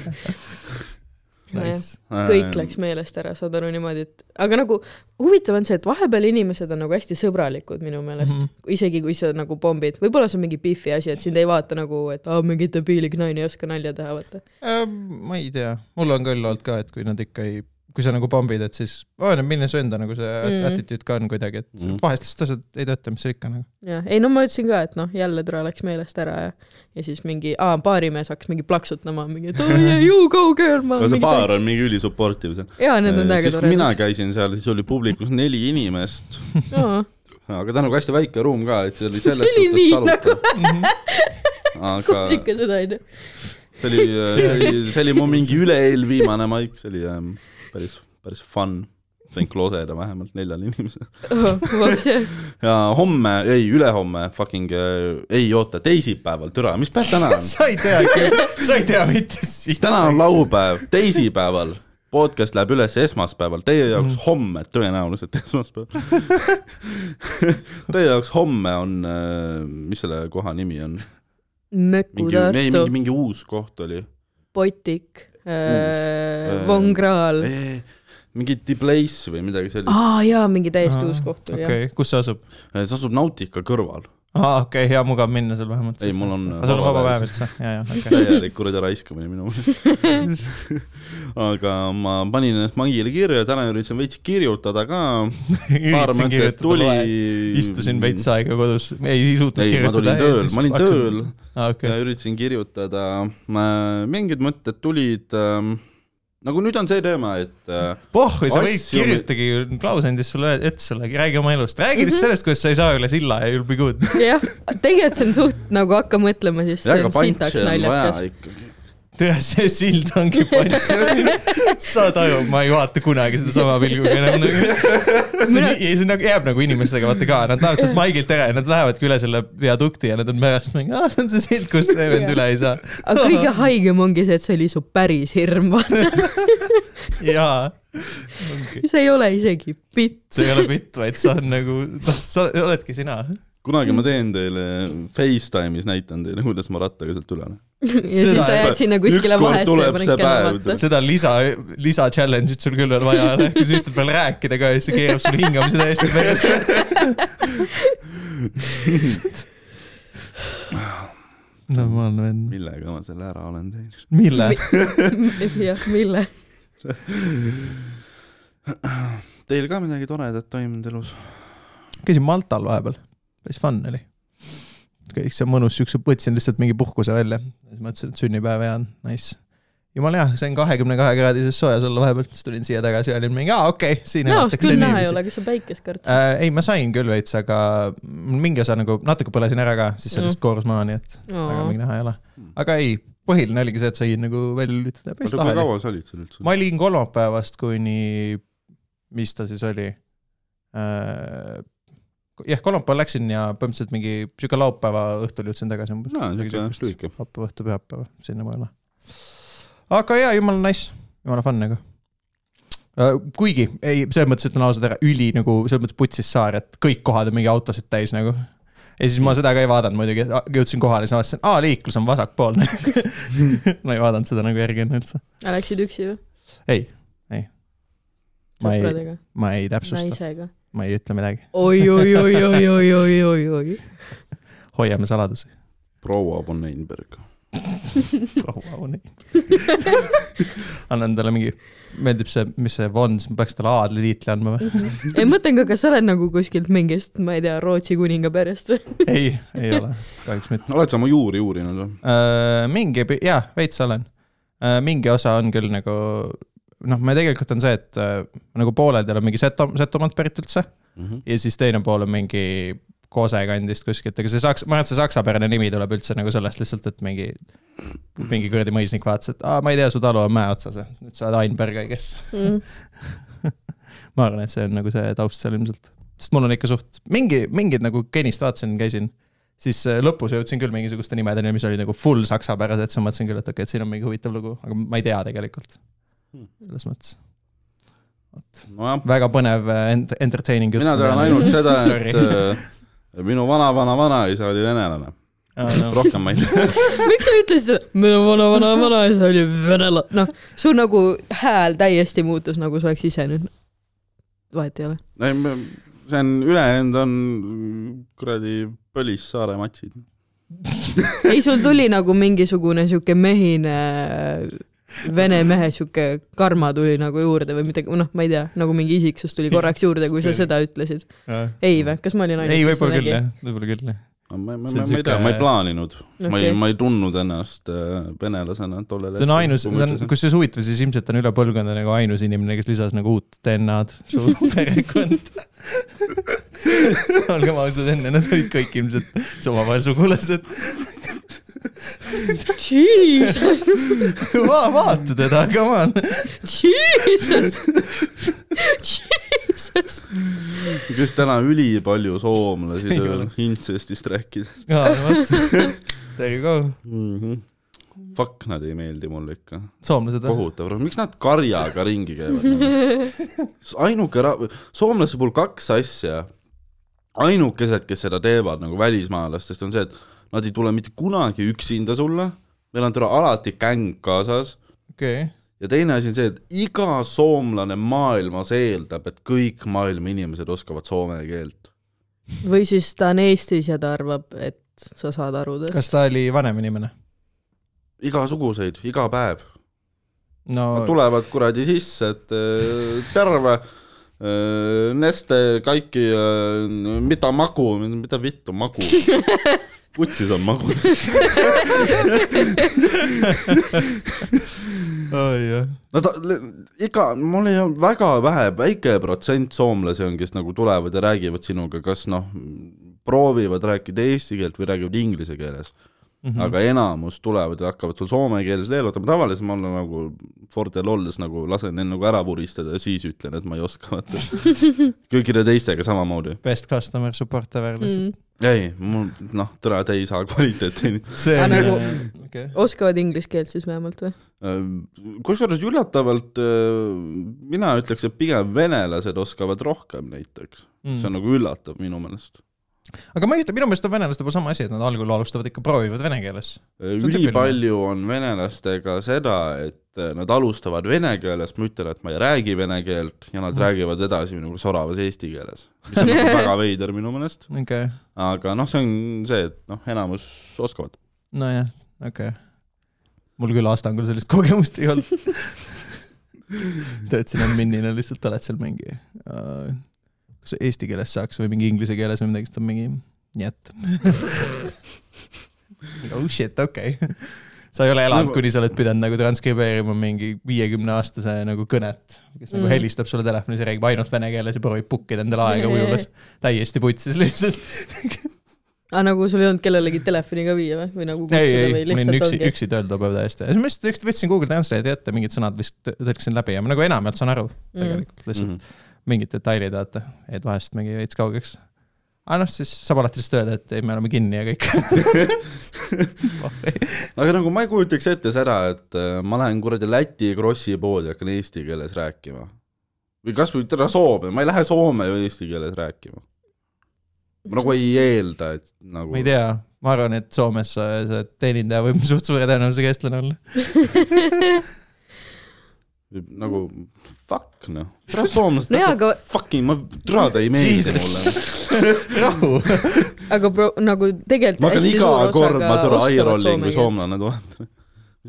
Nojah. Nice. Ähm. kõik läks . meelest ära , saad aru niimoodi , et aga nagu huvitav on see , et vahepeal inimesed on nagu hästi sõbralikud minu meelest mm , Mhm. -hmm. isegi kui sa nagu pommid , võib-olla see on mingi Biffi asi , et sind ei vaata nagu , et aa , mingi debiilik naine ei oska nalja teha , vaata . Ähm, ma ei tea , mul on küll olnud ka , et kui nad ikka ei , kui sa nagu pommid , et siis oleneb , milline su enda nagu see mm. Mm. attitude ka on kuidagi , et Mm. mm. vahest lihtsalt asjad ei tööta , mis seal ikka nagu . jah , ei no ma ütlesin ka , et noh , jälle tore läks meelest ära ja ja siis mingi , aa , baarimees hakkas mingi plaksutama , mingi et oh yeah , you go girl , ma no see mingi baar on mingi ülisupportive seal . jaa , need on täiega siis kui mina toredad . käisin seal , siis oli publikus neli inimest , see aga ta on nagu hästi väike ruum ka , et see oli selles oli suhtes nii talutav . Mhm. aga ikka seda ei tea . see oli , see oli , see oli mu mingi üle-eelviimane maik , see oli ähm, päris , päris fun . sain kloseda vähemalt neljale inimesele . ja homme , ei ülehomme fucking , ei oota , teisipäeval , türa , mis päev täna on ? sa ei tea küll , sa ei tea mitte siit . täna on laupäev , teisipäeval podcast läheb üles esmaspäeval , teie jaoks mm. homme , tõenäoliselt esmaspäeval . Teie jaoks homme on , mis selle koha nimi on ? Möku mingi , ei Tartu mingi ,, mingi uus koht oli . Botik , Äh, Von Krahl mingi The Place või midagi sellist . aa jaa , mingi täiesti Aa, uus koht oli jah . okei , kus see asub ? see asub Nautica kõrval . aa , okei okay, , hea mugav minna sul vähemalt . Ei, mul on sul on vaba vaba päev päev üldse , ja , ja , okei . täielik kuradi raiskamine minu meelest . aga ma panin ennast mangile kirja , täna üritasin veits kirjutada ka . paar mõtet tuli . istusin veits . aega kodus , ei suutnud ei , ma kirjutada . tulin tööl , ma olin tööl . aa , ja okei , üritasin kirjutada , mingid mõtted tulid ähm, nagu nüüd on see teema , et äh, pohhu , sa võid Asju- kirjutage ju , Klaus andis sulle ette selle , räägi oma elust , räägi lihtsalt sellest , kuidas sa ei saa üle silla ja you'll be good . jah , tegelikult see on suht nagu hakka mõtlema , siis see väga on sitaks pantsi on vaja naljakas . ikkagi . tead , see sild ongi pants . saad aru , ma ei vaata kunagi seda sama pilguga enam nagu . Mina- ja see nagu jääb nagu inimestega , vaata ka , nad lähevad sealt maigilt ära ja nad lähevadki üle selle viadukti ja nad on pärast mingi , aa , see on see sild , kus see vend üle ei saa . aga kõige haigem ongi see , et see oli su päris hirm , vaata , jaa . see ei ole isegi pitt . see ei ole pitt , vaid sa on nagu , noh , sa oledki sina . kunagi ma teen teile Facetime'is näitan teile , kuidas ma rattaga sealt üle lähen . ja siis sa jääd sinna kuskile Ükskord vahesse ja tuleb paned see kella päev, vaata . seda lisa , lisa challenge'it sul küll on vaja , kui sa ütled veel rääkida ka ja siis see keerab sul hingamise täiesti päris . normaalne vend . millega ma selle ära olen teinud ? mille ? jah , mille ? Teil ka midagi toredat toimunud elus ? käisin Maltal vahepeal , päris fun oli . kõik see mõnus siukse , võtsin lihtsalt mingi puhkuse välja , siis mõtlesin , et sünnipäev ja nice . jumala hea , sain kahekümne kahe kraadises soojas olla vahepeal , siis tulin siia tagasi ja olin mingi , aa okei okay, , siin näost elatakse Noh, küll näha ei niiviisi . ole , kas sa päikest kartsid ? Äh, ei , ma sain küll veits , aga mul mingi osa nagu natuke põlesin ära ka , siis see Mm. lihtsalt koorus maha , nii et väga mingi näha ei ole . aga ei , põhiline oligi see , et sai nagu välja lülitada , päris oota , kui lahe oli . kaua sa olid seal üldse ? ma olin kolmapäevast kuni , mis ta siis oli äh, ? jah , kolmapäeval läksin ja põhimõtteliselt mingi sihuke laupäeva õhtul jõudsin tagasi umbes . no niisugune lühike . laupäeva õhtu , pühapäeva , sinnapoole . aga jaa , jumala nice , jumala fun nagu . kuigi ei , selles mõttes ütlen ausalt ära , üli nagu selles mõttes putsis saar , et kõik kohad on mingi autosid täis nagu . ja siis ma seda ka ei vaadanud muidugi , jõudsin kohale , siis avastasin , aa liiklus on vasakpoolne . ma ei vaadanud seda nagu järgi enne üldse . aga läksid üksi või ? ei , ei . ma ei , sõpradega ? ma ei täpsusta , naisega ? ma ei ütle midagi , oi , oi , oi , oi , oi , oi , oi , oi . hoiame saladusi . proua von Einberg . proua on ei . annan talle mingi , meeldib see , mis see on , siis ma peaks talle aadlitiitli andma või ? ei , mõtlen ka , kas sa oled nagu kuskilt mingist , ma ei tea , Rootsi kuninga perest või ? ei , ei ole , kahjuks mitte . oled sa oma juuri uurinud või ? mingi , jaa , veits olen . mingi osa on küll nagu , noh , me tegelikult on see , et äh, nagu pooled ei ole mingi seto- , Setomaalt pärit üldse ja siis teine pool on mingi Kose kandist kuskilt , aga see saks- , ma arvan , et see saksapärane nimi tuleb üldse nagu sellest lihtsalt , et mingi , mingi kuradi mõisnik vaatas , et aa , ma ei tea , su talu on mäe otsas , nüüd sa oled Einberg , I guess . Mm. ma arvan , et see on nagu see taust seal ilmselt . sest mul on ikka suht mingi , mingid nagu geenist vaatasin , käisin , siis äh, lõpus jõudsin küll mingisuguste nimedeni , mis olid nagu full saksapärased , siis ma mõtlesin küll , et okei okay, , et siin on mingi huvitav lugu , aga ma ei tea tegelikult . Hmm. selles mõttes nojah , väga põnev äh, ent- , entertaining jutt . mina tean ainult seda , Sorry. et äh, minu vana-vana-vanaisa oli venelane , ainult . rohkem ma ei tea . miks sa ütlesid seda ? minu vana-vana-vanaisa oli venelane . noh , sul nagu hääl täiesti muutus , nagu sa oleks ise nüüd . vahet ei ole . see on , ülejäänud on kuradi Põlissaare matsid . ei , sul tuli nagu mingisugune sihuke mehine , vene mehe sihuke karma tuli nagu juurde või midagi , noh , ma ei tea , nagu mingi isiksus tuli korraks juurde , kui sa seda ütlesid . ei või , kas ma olin ainult ? ei , võib-olla küll jah , võib-olla küll jah . ma , ma , See on ma ei tea , ma ei sihuke- plaaninud , ma ei , Okei. ma ei tundnud ennast äh, venelasena tollel see on ainus , ta on , kusjuures huvitav , siis ilmselt on üle põlvkonda nagu ainus inimene , kes lisas nagu uut DNA-d su perekonda . olgem ausad , enne nad olid kõik ilmselt su omavahel sugulased . Jesus , Va- , vaata teda , come on . Jesus , Jesus . kes täna ülipalju soomlasi Ei tööl ole. intsestist rääkides There you go . mm . -hmm. Fuck , nad ei meeldi mulle ikka . soomlased või ? kohutav , miks nad karjaga ringi käivad nagu? ? ainuke ra- , soomlaste puhul kaks asja , ainukesed , kes seda teevad nagu välismaalastest , on see , et nad ei tule mitte kunagi üksinda sulle , neil on täna alati gäng kaasas okei okay. . ja teine asi on see , et iga soomlane maailmas eeldab , et kõik maailma inimesed oskavad soome keelt . või siis ta on Eestis ja ta arvab , et sa saad aru kas tast . ta oli vanem inimene ? igasuguseid , iga päev . no Nad tulevad kuradi sisse , et äh, terve äh, Neste kaiki , mida magu , mida vittu magu . kutsis on magu . oh, . jah , no ta , iga , mul ei olnud väga vähe , väike protsent soomlasi on , kes nagu tulevad ja räägivad sinuga , kas noh , proovivad rääkida eesti keelt või räägivad inglise keeles mm . Mhm. -hmm. aga enamus tulevad ja hakkavad sul soome keeles leelutama , tavaliselt ma olen nagu Fordel olles nagu lasen end nagu ära vuristada ja siis ütlen , et ma ei oska , vaata . kõikide teistega samamoodi . best customer support ever lihtsalt mm. . ei , mul noh , täna te ei saa kvaliteeti see Aga nagu- okei . oskavad inglise keelt siis vähemalt või ? kusjuures üllatavalt äh, mina ütleks , et pigem venelased oskavad rohkem näiteks mm. , see on nagu üllatav minu meelest . Mm. aga ma ei ütle , minu meelest on venelaste puhul sama asi , et nad algul alustavad ikka , proovivad vene keeles . on tüüpiline. Äh, ülipalju on venelastega seda , et äh, nad alustavad vene keeles , ma ütlen , et ma ei räägi vene keelt ja nad Mhm. mm. räägivad edasi minuga soravas eesti keeles , mis on nagu väga veider minu meelest , okei okay. , aga noh , see on see , et noh , enamus oskavad . nojah , okei okay. . mul küll Astangul sellist kogemust ei olnud . töötasin adminina , lihtsalt oled seal mingi uh, , kas eesti keeles saaks või mingi inglise keeles või midagi , siis ta on mingi jät . oh shit , okei okay. . sa ei ole elanud Nagu- nagu... , kuni sa oled pidanud nagu transkribeerima mingi viiekümne aastase nagu kõnet , kes mm. nagu Mm. helistab sulle telefonis ja räägib ainult vene keeles ja proovib book ida endale aega ujulas . täiesti putsis lihtsalt . aga nagu sul ei olnud kellelegi telefoni ka viia või , või nagu ei , kutsuda ei , või ma olin lihtsalt üksi , ongi ? üksi tööl too päev täiesti . ma lihtsalt üks- võtsin Google Translate'i ette , mingid sõnad lihtsalt tõ- tõlkisin läbi ja ma nagu enamjaolt saan aru Mhm. tegelikult lihtsalt mm Mm. -hmm. mingid detailid , vaata , jäid vahest mingi veits kaugeks . aga noh , siis saab alati lihtsalt öelda , et ei , me oleme kinni ja kõik . aga nagu ma ei kujutaks ette seda , et äh, ma lähen kuradi Läti Krossi poodi ja hakkan eesti keeles rääkima . või kasvõi täna Soome , ma ei lähe soome ju eesti keeles rääkima . ma nagu ei eelda , et nagu ma ei tea , ma arvan , et Soomes sa- see teenindaja võib suht suure tõenäosusega eestlane olla . nagu fuck noh , täna soomlased Mm. No jaa, no, , aga- fucking ma , türa ta ei meeldi Jesus. mulle . rahu . aga pro- , nagu ma tegelikult hakkan hästi iga suur osa kord , ka ma türa oskavad Airolli soome kui keelt . soomlane tulen .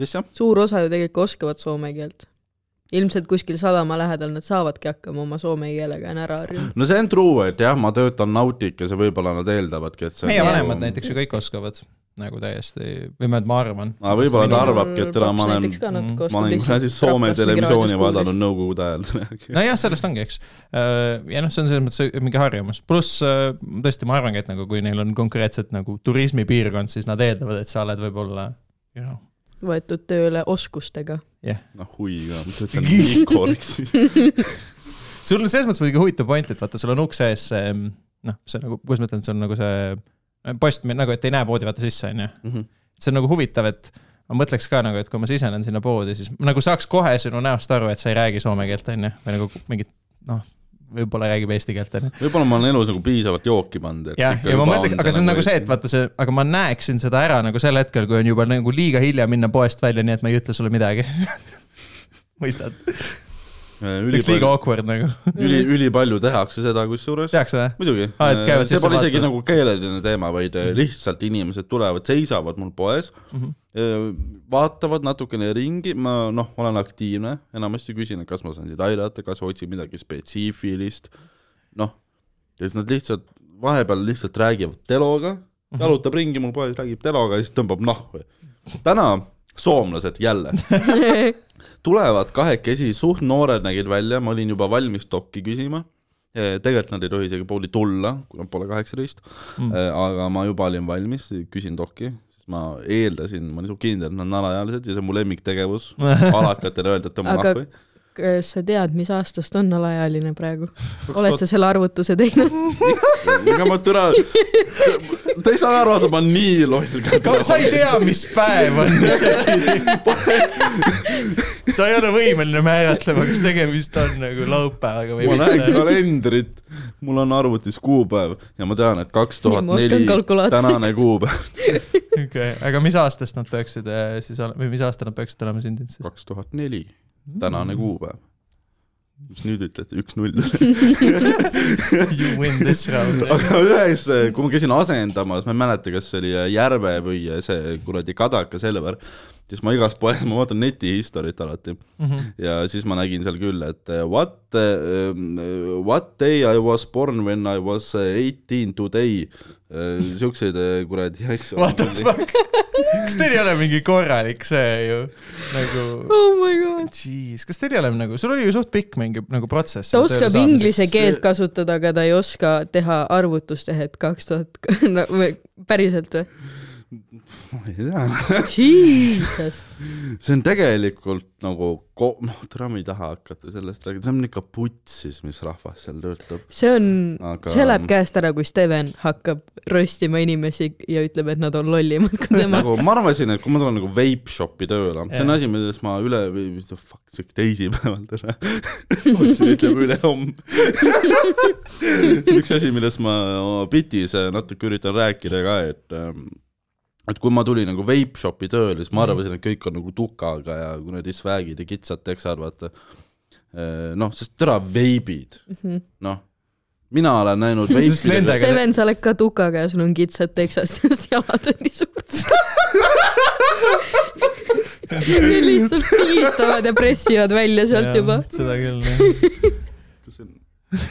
mis asja ? suur osa ju tegelikult oskavad soome keelt . ilmselt kuskil sadama lähedal nad saavadki hakkama oma soome keelega , on ära harjunud . no see on true , et jah , ma töötan Nauticas ja võib-olla nad eeldavadki , et see on meie nagu- vanemad näiteks ju kõik oskavad nagu täiesti , või ma , ma arvan . Aa, võib-olla ta arvabki, et täna ma olen- ma olen kuradi Soome televisiooni vaadanud . nõukogude ajal . Noh, nojah , sellest ongi , eks . ja noh , see on selles mõttes mingi harjumus , pluss äh, tõesti , ma arvangi , et nagu kui neil on konkreetselt nagu turismipiirkond , siis nad eeldavad , et sa oled võib-olla you know, võetud tööle oskustega . noh , hui ka , ma töötan Igoriks . sul on selles mõttes muidugi huvitav point , et vaata , sul on ukse ees see , noh , see nagu , kuidas ma ütlen , see on nagu see post , nagu et ei näe poodi vaata sisse , on ju . Mhm. see on nagu huvitav , et ma mõtleks ka nagu , et kui ma sisenen sinna poodi , siis ma nagu saaks kohe sinu näost aru , et sa ei räägi soome keelt , on ju , või nagu mingit , noh , võib-olla räägib eesti keelt , on ju . võib-olla ma olen elus nagu piisavalt jooki pannud . jah , ja ma mõtlen , aga see on nagu see , et vaata see , aga ma näeksin seda ära nagu sel hetkel , kui on juba nagu liiga hilja minna poest välja , nii et ma ei ütle sulle midagi . mõistad ? see oleks liiga ülipalju , awkward nagu . üli , ülipalju tehakse seda kusjuures . tehakse või ? muidugi Aa, Ah, et , käivad Mhm. see sisse pole isegi vaatama. nagu keeleline teema , vaid äh, lihtsalt inimesed tulevad , seisavad mul poes mm , Mhm. -hmm. vaatavad natukene ringi , ma noh , olen aktiivne , enamasti küsin , et kas ma saan teid aidata , kas otsin midagi spetsiifilist , noh , ja siis nad lihtsalt vahepeal lihtsalt räägivad teloga , Mhm. jalutab ringi mul poes , räägib teloga ja siis tõmbab nahku . täna soomlased jälle tulevad kahekesi , suht noored nägid välja , ma olin juba valmis dokki küsima . tegelikult nad ei tohi isegi poodi tulla , kui nad pole kaheksateist mm. . aga ma juba olin valmis , küsin dokki , siis ma eeldasin , ma olin suht kindel , et nad on alaealised ja see on mu lemmiktegevus . alakatele öelda , et tõmba Aga- nahku . kas sa tead , mis aastast on alaealine praegu ? oled sa selle arvutuse teinud ? ega ma türa , ta ei saa aru , et ma nii loll ka . sa ei tea , mis päev on . sa ei ole võimeline määratlema , kas tegemist on nagu laupäevaga või ma näen mitte . kalendrit , mul on arvutis kuupäev ja ma tean , et kaks Nii, tuhat ma oskan neli kalkulaatorit. tänane kuupäev . okei , aga mis aastast nad peaksid äh, eh, siis olema , või mis aastal nad peaksid olema sündinud siis ? kaks tuhat neli tänane kuupäev . mis nüüd ütlete , üks-null . You win this round . aga ühes , kui ma käisin asendamas , ma ei mäleta , kas see oli eh, Järve või see kuradi Kadaka Selver , siis ma igas poes , ma vaatan neti history't alati Mhm. ja siis ma nägin seal küll , et eh, what uh, , what day I was born when I was eh, eighteen today . Siukseid eh, kuradi asju . What the fuck ? kas teil ei ole mingi korralik see ju nagu , oh my god . jeez , kas teil ei ole nagu , sul oli ju suht pikk mingi nagu protsess . ta oskab inglise keelt kasutada , aga ta ei oska teha arvutustehet kaks tuhat , päriselt või ? ma ei tea , Jesus . see on tegelikult nagu , noh , täna ma ei taha hakata sellest rääkima , see on ikka putsis , mis rahvas seal töötab . see on Aga- aga... , see läheb käest ära , kui Steven hakkab röstima inimesi ja ütleb , et nad on lollimad kui tema . nagu ma arvasin , et kui ma tulen nagu vape shop'i tööle , see on Jah. asi , millest ma üle , või mis the fuck , see oli teisipäeval täna . otsin ütleme ülehomme . üks asi , millest ma oma bitis natuke üritan rääkida ka , et ähm, et kui ma tulin nagu vape shop'i tööle , siis ma Mhm. arvasin , et kõik on nagu tukaga ja kuradi swag'id ja kitsad teksad , vaata . noh , sest täna veibid , noh , mina olen näinud Mhm. Sest veipidega nendega- Steven , sa oled ka tukaga ja sul on kitsad teksas , sest jalad on nii suured . Need lihtsalt pigistavad ja pressivad välja sealt juba .. seda küll , jah . Kas see on-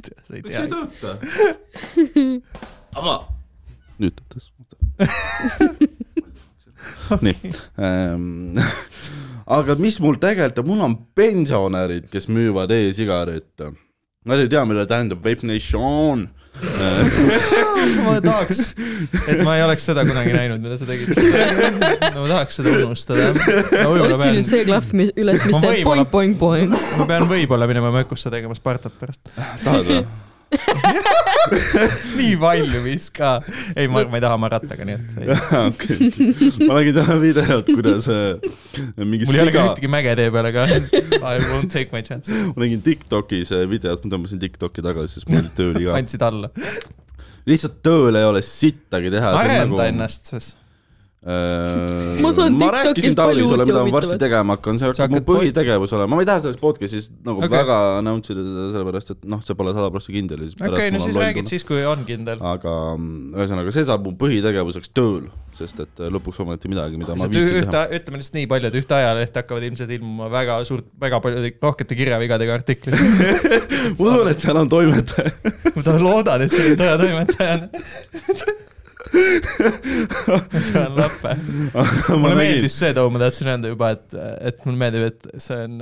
sa ei miks see tea ei . tööta ? aga . nüüd töötas . nii ähm, . aga mis mul tegelikult , mul on pensionärid , kes müüvad e-sigarette . Nad ei tea , mida tähendab Vape Nation . ma tahaks , et ma ei oleks seda kunagi näinud , mida sa tegid . no ma tahaks seda unustada . otsi nüüd see klahv , mis üles , mis Ma teeb võib-olla- poing-poing-poing . ma pean võib-olla minema mökusse tegema Spartat pärast . tahad või ? nii valmis ka . ei , ma , ma ei taha marattaga , nii et ei. okei , ma nägin täna videot , kuidas äh, mingi mul ei ole siga ka , ühtegi mäge tee peal , aga I won't take my chances . ma nägin Tiktokis äh, videot , ma tõmbasin Tiktoki tagasi , sest mul oli tööl iga , andsid alla . lihtsalt tööl ei ole sittagi teha . nagu- arenda ennast siis . Äh, Ma saan ma TikTokis rääkisin palju Taavi sulle , uut ja mida ma varsti huvitavat. tegema hakkan , see hakkab mu hakkad pod- põhitegevus olema , ma ei taha selles podcast'is nagu Okei. okay. väga announce ida seda sellepärast , et noh , see pole sada prossa kindel ja siis okei okay, , no siis räägid . siis , kui on kindel . aga mm, ühesõnaga , see saab mu põhitegevuseks tööl , sest et äh, lõpuks ometi midagi , mida ma lihtsalt viitsin teha . ühte , ütleme lihtsalt nii palju , et ühte ajalehte hakkavad ilmselt ilmuma väga suurt , väga paljude rohkete kirjavigadega artiklid . ma usun , et seal on toimetaja , ma tahan , loodan , et see on tõe toimetaja . see on lappe . ma mulle nägin , meeldis see , Toom , ma tahtsin öelda juba , et , et mulle meeldib , et see on ,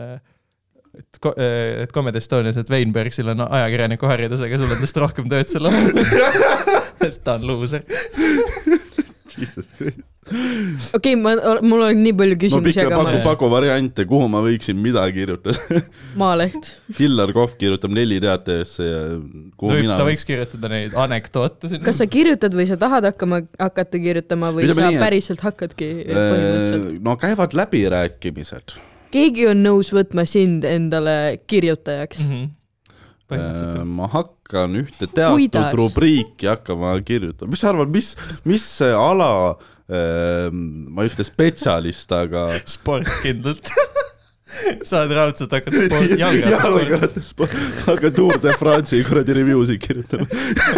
et , et Comedy Estonias , et Veinbergsil on ajakirjaniku haridusega , sul on tast rohkem tööd seal olnud . sest ta on luuser . jesus Christ. okei , ma , mul on nii palju no küsimusi , pikka aga ma paku , paku variante , kuhu ma võiksin midagi kirjutada . Maaleht . Hillar Kohv kirjutab neli teatesse ja kuhu võib , mina ta . võiks kirjutada neid anekdoote sinna . kas sa kirjutad või sa tahad hakkama , hakata kirjutama või Ütleme sa nii, et- Äh, päriselt hakkadki põhimõtteliselt ? no käivad läbirääkimised keegi on nõus võtma sind endale kirjutajaks . Äh, Mhm. põhimõtteliselt . ma hakkan ühte teatud Kuidas? rubriiki hakkama kirjutama , mis sa arvad , mis , mis see ala , ma ei ütle spetsialist , aga sport kindlalt . sa oled raudselt hakanud sporti , jalgrattasporti . jalgrattasport , hakkan Tour de France'i kuradi review sid kirjutama .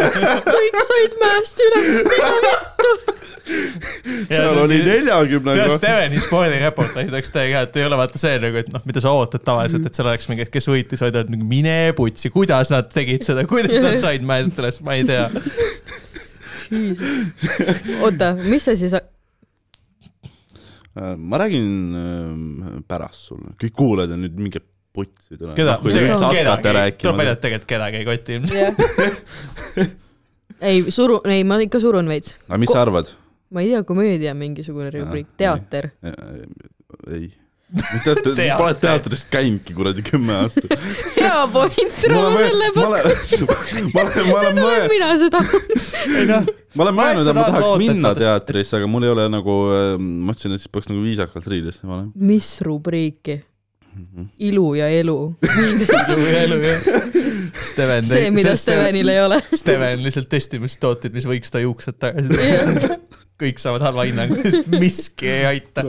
kõik said mäest üles minema . seal oli nagu- neljakümne tead , Steveni spordireportaaž oleks täiega hea , et ei ole vaata see nagu , et noh , mida sa ootad tavaliselt , et seal oleks mingi , et kes võitis , vaid on nagu mine putsi , kuidas nad tegid seda , kuidas nad said mäest üles , ma ei tea . oota , mis sa siis , Äh, ma räägin ähm, pärast sulle , kõik kuulajad on nüüd mingi putsi täna . keda , hakkate kedagi , tuleb välja , rääkima et . tegelikult kedagi ei koti ilmselt . jah ? ei , suru , ei , ma ikka surun veits . aga Ah, mis sa arvad ? ma ei tea , komöödia mingisugune rubriik , teater . äh, ei . Pole teatris käinudki kuradi kümme aastat . hea point , Ma Rauno , olen mõel- selle ma pakkus . olen , ma olen , ma olen tulen mõelnud , mina seda . noh. ma olen Ma mõelnud , et ma tahan tahaks loota, et minna ta- teatrisse , aga mul ei ole nagu , ma mõtlesin , et siis peaks nagu viisakalt riidesse panema . mis rubriiki ? ilu ja elu . elu , elu , jah . Steven see , mida . Stevenil ei ole . Steven lihtsalt testimas tooteid , mis võiks ta juuksed tagasi teha . kõik saavad halva hinnangu , sest miski ei aita .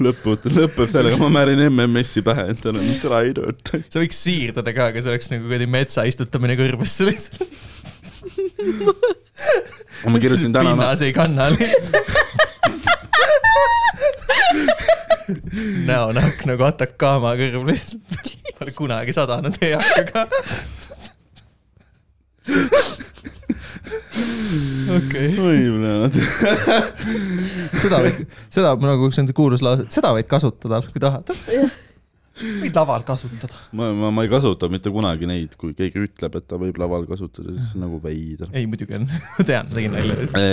lõput , lõpeb sellega , ma määrin MMS-i pähe , et olen trainud . sa võiks siirdada ka , aga see oleks nagu kuradi metsa istutamine kõrbesse lihtsalt . ma kirjutasin täna no, , pinnas ei kanna lihtsalt . näonahk nagu Atacama kõrv lihtsalt . Pole kunagi sadanud eakaga . okei okay. , oi mõlemad . seda võid , seda ma nagu , see on see kuulus lause , seda võid kasutada , kui tahad . võid laval kasutada . ma , ma , ma ei kasuta mitte kunagi neid , kui keegi ütleb , et ta võib laval kasutada , siis see on nagu veider . ei , muidugi on , tean , tegin nalja .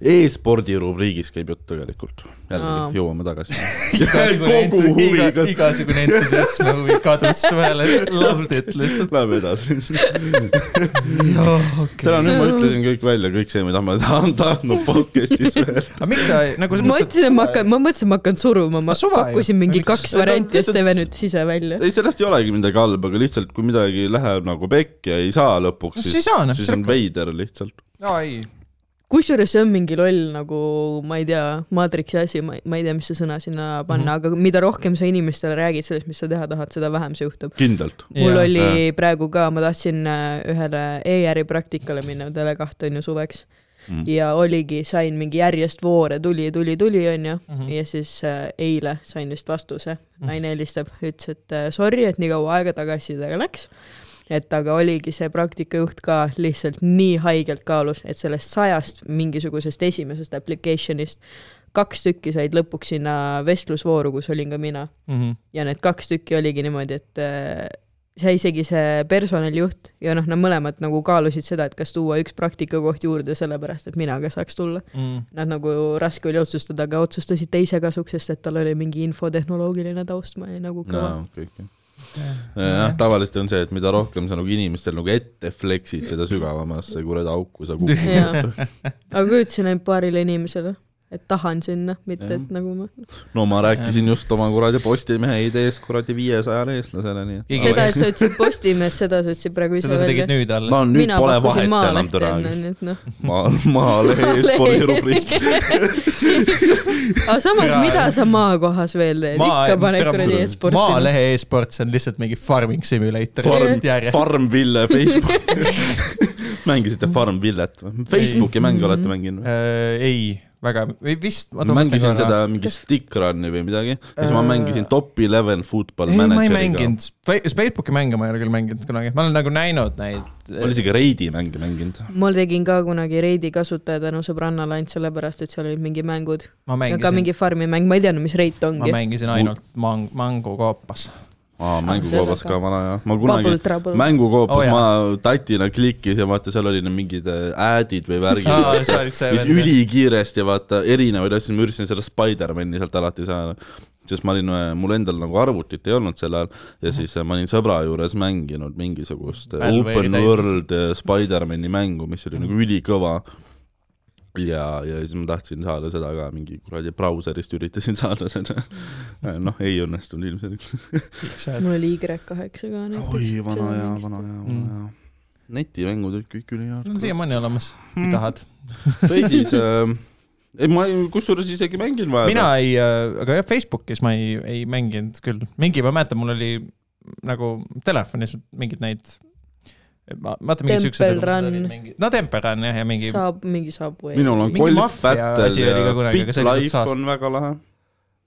E-spordi rubriigis käib jutt tegelikult . Aa. jällegi jõuame tagasi . igasugune Kogu entu- huvi iga- kas- igasugune entusiasm ja huvi kadus vahele , loved it lihtsalt . Läheme edasi . aga täna nüüd ma ütlesin kõik välja , kõik see , mida ma tahan , tahan no, podcast'is öelda . miks sa nagu ma ütlesin , et ma . hakkan , ma mõtlesin , et ma hakkan suruma , ma No suva ju. pakkusin mingi Miks? kaks No ta varianti ja lihtsalt- Steven ütles ise välja . ei , sellest ei olegi midagi halba , aga lihtsalt kui midagi läheb nagu pekki ja ei saa lõpuks , No siis , siis ei saa, noh, siis see- on veider lihtsalt . aa ei , kusjuures see on mingi loll nagu , ma ei tea , maatriksi asi , ma ei , ma ei tea , mis see sõna sinna Mhm. panna mm , -hmm. aga mida rohkem sa inimestele räägid sellest , mis sa teha tahad , seda vähem see juhtub . kindlalt . mul Jaa. oli praegu ka , ma tahtsin äh, ühele e-äri praktikale minna , Tele2 on ju suveks Mm. mm. ja oligi , sain mingi järjest voore , tuli , tuli , tuli , onju , Mhm. ja siis äh, eile sain vist vastuse , naine helistab , ütles , et äh, sorry , et nii kaua aega tagasisidega läks et aga oligi see praktikajuht ka lihtsalt nii haigelt kaalus , et sellest sajast mingisugusest esimesest application'ist kaks tükki said lõpuks sinna vestlusvooru , kus olin ka mina . mhm, ja need kaks tükki oligi niimoodi , et äh, see isegi see personalijuht ja noh , nad mõlemad nagu kaalusid seda , et kas tuua üks praktikakoht juurde , sellepärast et mina ka saaks tulla . mhm. Nad nagu raske oli otsustada , aga otsustasid teise kasuks , sest et tal oli mingi infotehnoloogiline taust , ma ei nagu kõva no. jaa , okei , okei . jah , tavaliselt on see , et mida rohkem sa nagu inimestel nagu ette flex'id , seda sügavamasse kuradi auku sa Jaa. kukud . aga kujutasin ainult paarile inimesele , et tahan sinna , mitte Jah. et nagu ma . no ma rääkisin just oma kuradi Postimehe ideest kuradi viiesajale eestlasele , nii et . Keegi seda , oleks- et sa ütlesid Postimehes , seda sa ütlesid praegu ise seda sa välja tegid . nüüd alles no no. . nüüd mina pole vahet pakkusin enam Maalehte täna . enne , nii et noh . maa , Maalehe eespool rubriik . aga samas , Jaa, mida sa maakohas veel teed , ikka paned kuradi e-sporti . maalehe e-sport , see on lihtsalt mingi farming simulator Farm- Farm. järjest . Farmville Facebook . mängisite Farmvillet või ? Facebooki mänge olete mänginud või ? Äh, ei , väga , või vist . ma mängisin seda mingi Stick Run'i või midagi , siis ma Äh, mängisin Top Eleven Football ei , ma ei Manageriga . mänginud , Facebooki mänge ma ei ole küll mänginud kunagi , ma olen nagu näinud neid . ma olen isegi Raidi mänge mänginud . ma tegin ka kunagi Raidi kasutaja tänu sõbrannale ainult sellepärast , et seal olid mingi mängud . ma ka mängisin , mingi farmi mäng , ma ei teadnud , mis Reit ma ongi . mängisin ainult mang- , mangukoopas . Ah, aa , mängukoobas ka vana jah , ma kunagi Bubble Trouble . mängukoopis Oo, oh, jaa. ma tatina klikkis ja vaata , seal olid need mingid äh, ad'id või värgid , aa , sa olid see mis . ülikiiresti vaata erinevaid asju , ma üritasin seda Spider-man'i sealt alati saada . sest ma olin , mul endal nagu arvutit ei olnud sel ajal ja siis äh, ma olin sõbra juures mänginud mingisugust äh, Valve'i open täismahus. world äh, Spider-man'i mängu , mis oli nagu ülikõva ja , ja siis ma tahtsin saada seda ka mingi kuradi brauserist üritasin saada seda . noh , ei õnnestunud ilmselgelt . mul oli Y8 ka näiteks . oi , vana hea , vana hea , vana hea . netimängud olid kõik Mm. on ülihead . siiamaani olemas , kui Hmm. tahad . veidis äh, , ei ma ei- kusjuures isegi mängin mina vahepeal . ei , aga jah , Facebookis ma ei , ei mänginud küll , mingi , ma mäletan , mul oli nagu telefonis mingid neid . ma vaata Temple mingi siuksed . Run. no Temple Run jah , ja mingi . saab mingi Subway . minul on mingi golf maffia asi battle oli ka ja kunagi, aga Big see oli Life saast- on väga lahe .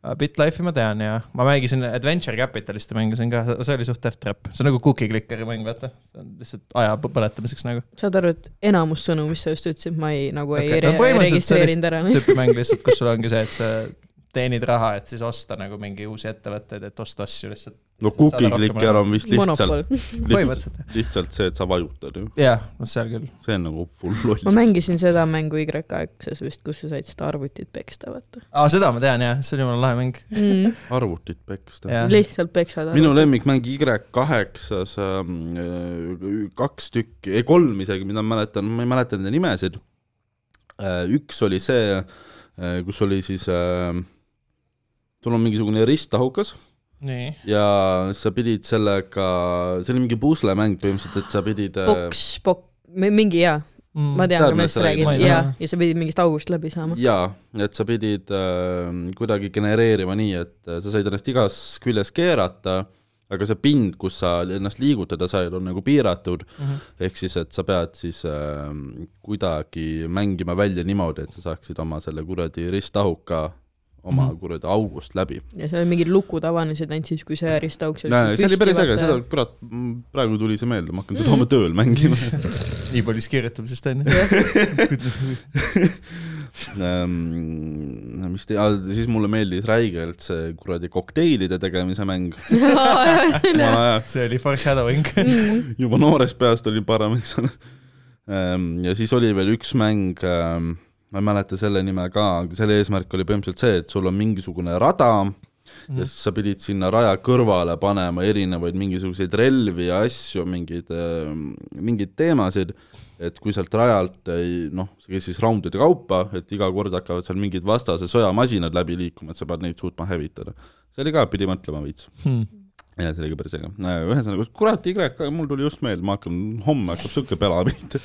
BitLife'i ma tean ja , ma mängisin Adventure Capitalist mängisin ka , see oli suht F-trap , see on nagu cookie clickeri mäng , vaata . see on lihtsalt aja põ- põletamiseks nagu . saad aru , et enamus sõnu , mis sa just ütlesid , ma ei nagu ei Okei, re- no põhimõtteliselt see oli registreerinud ära . tüüpi mäng lihtsalt , kus sul ongi see , et sa teenid raha , et siis osta nagu mingi uusi ettevõtteid , et osta asju lihtsalt . no Cookie Clicker on vist lihtsalt , monopol . lihtsalt, põhimõtteliselt jah. lihtsalt see , et sa vajutad ju . jah , no seal küll . see on nagu full loll ma . mängisin seda mängu Y8-s vist , kus sa said seda arvutit peksta , vaata aa , seda ma tean jah , see oli mul lahe mäng . mm, . arvutit peksta . jah , lihtsalt peksad minu . lemmikmäng Y8-s ähm, äh, kaks tükki , ei kolm isegi , mida ma mäletan , ma ei mäleta nende nimesid . üks oli äh, ähm, see , kus oli siis äh, sul on mingisugune ristahaukas nii . ja sa pidid sellega , see oli mingi puslemäng põhimõtteliselt , et sa pidid . äh, poks , pok- , mingi jaa , Mm. ma tean , Tead, millest millest sa sa räägid räägid? , Ma ei jaa tea. , ja sa pidid mingist august läbi saama . jaa , et sa pidid äh, kuidagi genereerima nii , et äh, sa said ennast igas küljes keerata , aga see pind , kus sa ennast liigutada said , on nagu piiratud , ehk siis , et sa pead siis äh, kuidagi mängima välja niimoodi , et sa saaksid oma selle kuradi ristahuka oma Mhm. kuradi august läbi . ja seal olid mingid lukud avanesid ainult siis , kui see ristauk seal see oli päris äge , seda , kurat , praegu tuli see meelde , ma hakkan seda homme tööl mängima . nii palju siis kirjutamisest onju . Ähm, mis te , siis mulle meeldis räigelt see kuradi kokteilide tegemise mäng . see oli foreshadowing . juba noorest peast olin parem , eks ole . ja siis oli veel üks mäng , ma ei mäleta selle nime ka , aga selle eesmärk oli põhimõtteliselt see , et sul on mingisugune rada ja siis sa pidid sinna raja kõrvale panema erinevaid mingisuguseid relvi ja asju , mingeid , mingeid teemasid , et kui sealt rajalt ei noh , see käis siis raundide kaupa , et iga kord hakkavad seal mingid vastase sõjamasinad läbi liikuma , et sa pead neid suutma hävitada . see oli ka , pidi mõtlema veits . Hmm. ja see oli ka päris äge , ühesõnaga kurat , Y , mul tuli just meelde , ma hakkan , homme hakkab siuke pela pihta .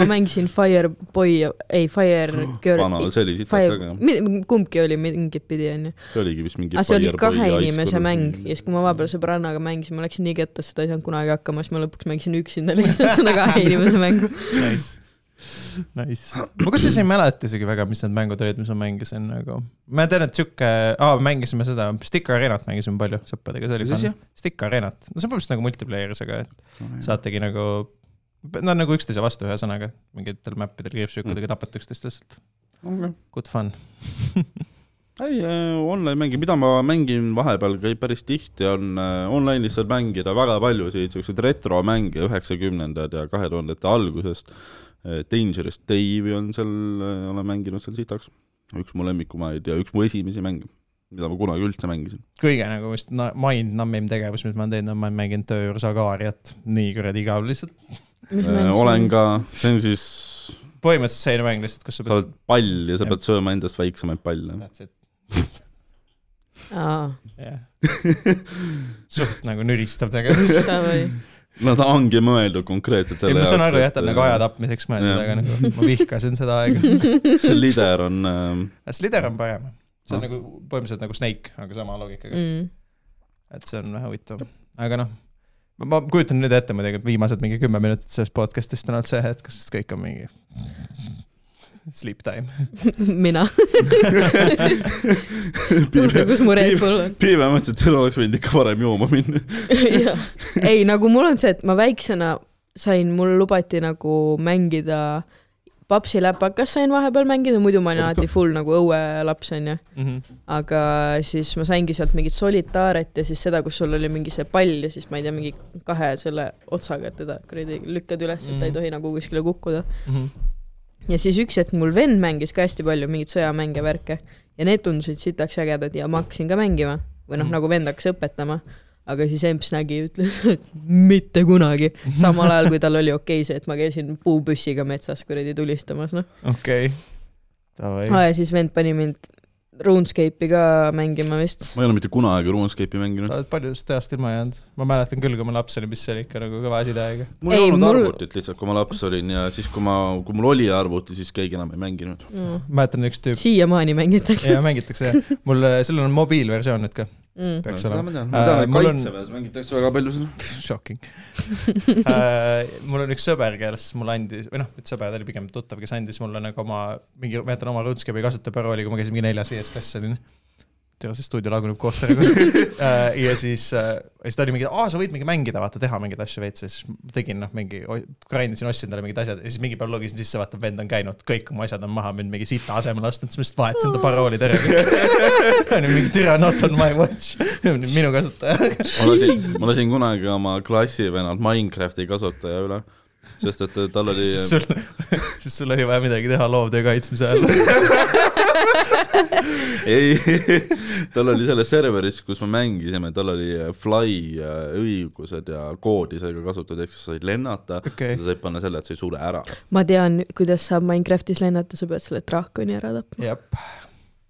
ma mängisin Fireboy , ei Fire vana , Girl , see oli sitaks Fire äge , kumbki oli mingit pidi , onju . see oligi vist mingi . aga Ah, see oli kahe inimese mäng ja siis , kui ma vahepeal sõbrannaga mängisin , ma läksin nii kettasse , ta ei saanud kunagi hakkama , siis ma lõpuks mängisin üksinda lihtsalt seda kahe inimese mängu . Nice , nice . ma kusjuures ei mäleta isegi väga , mis need mängud olid , mis ma mängisin nagu . ma tean , et sihuke , aa , mängisime seda , Stick Arenat mängisime palju sõpradega , see oli Mis asi? fun . Stick Arenat , no see on põhimõtteliselt nagu multiplayer'is , aga et saategi nagu , nad on nagu üksteise vastu , ühesõnaga , mingitel mäppidel Mm. kriipsujukkudega tapate üksteist lihtsalt . Good fun . ei , online mängi , mida ma mängin vahepeal käib päris tihti , on äh, online'is saad mängida väga paljusid siukseid retromänge üheksakümnendad ja kahe tuhandete algusest . Dangerous Dave'i on seal , olen mänginud seal sitaks , üks mu lemmikumaid ja üks mu esimesi mänge , mida ma kunagi üldse mängisin . kõige nagu vist na- mind numbing tegevus , mis ma olen teinud , on ma olen mänginud töö juures Agaariat , nii kuradi igav lihtsalt . Äh, olen ka , see on siis , põhimõtteliselt selline mäng lihtsalt , kus sa sa pead . oled pall ja sa pead sööma endast väiksemaid palle . That's it , aa , jah . suht nagu nüristav tegevus . davai . Nad ongi mõeldud konkreetselt ei , selle ma saan aru jah , ta on nagu aja et äh, tapmiseks mõeldud , Jah. aga nagu ma vihkasin seda aega . äh, see lider on äh, Slider on parem . see on Ah. nagu põhimõtteliselt nagu Snake , aga sama loogikaga , Mm. et see on vähe huvitav . aga noh , ma kujutan nüüd ette muidugi , et viimased mingi kümme minutit sellest podcast'ist on olnud see hetk , kus kõik on mingi sleep time . mina , piibe , kus mu Red piim- Bull on . piibe mõtles , et seal oleks võinud ikka varem jooma minna . Jah. ei , nagu mul on see , et ma väiksena sain , mul lubati nagu mängida papsi läpakas sain vahepeal mängida , muidu ma olin alati full nagu õuelaps onju , aga siis ma saingi sealt mingit solitaaret ja siis seda , kus sul oli mingi see pall ja siis ma ei tea , mingi kahe selle otsaga teda kuradi lükkad üles , et ta ei tohi nagu kuskile kukkuda . ja siis üks hetk mul vend mängis ka hästi palju mingeid sõjamänge , värke ja need tundusid sitaks ägedad ja ma hakkasin ka mängima või noh , Mhm. nagu vend hakkas õpetama , aga siis emps nägi ja ütles , et mitte kunagi , samal ajal kui tal oli okei okay see , et ma käisin puupüssiga metsas kuradi tulistamas , noh . okei . Davai . ja siis vend pani mind RuneScape'i ka mängima vist . ma ei ole mitte kunagi RuneScape'i mänginud . sa oled paljudest ajast ilma jäänud . ma mäletan küll , kui ma laps olin , mis see oli ikka nagu kõva asi täiega . mul ei Ei, olnud mul- arvutit lihtsalt , kui ma laps olin ja siis , kui ma , kui mul oli arvuti , siis keegi enam ei mänginud . Noh. mäletan üks tüüp , siiamaani mängitakse . ja mängitakse jah , mul , sellel on mobiilversioon nüüd ka , Mm. peaks seda olema , ma tean , Äh, ma tean , et mul on- kaitseväes mängitakse väga palju seda . shocking Äh, mul on üks sõber , kes mulle andis , või noh , mitte sõber , ta oli pigem tuttav , kes andis mulle nagu oma , mingi , ma jätan oma RuneScape'i kasutajaparooli , kui ma käisin mingi neljas-viies klass olin . tere , see stuudio laguneb koos temaga . ja siis , ja siis ta oli mingi , aa , sa võid mingi mängida , vaata , teha mingeid asju veits ja siis ma tegin noh , mingi , grindisin , ostsin talle mingid asjad ja siis mingi päev logisin sisse , vaata , vend on käinud , kõik mu asjad on maha mind mingi sita asemele ostnud , siis ma lihtsalt vahetasin ta parooli tervega . mingi türa not on my watch , minu kasutaja . ma lasin , ma lasin kunagi oma klassivennalt Minecrafti kasutaja üle , sest et tal oli äh, siis sul , siis sul oli vaja midagi teha loovtöö kaitsmise ajal . ei , tal oli selles serveris , kus me mängisime , tal oli fly äh, õigused ja koodi sai ka kasutada , ehk siis sa said lennata Okei. ja sa said panna selle , et sa ei sure ära . ma tean , kuidas saab Minecraftis lennata , sa pead selle draakoni ära tapma . jah ,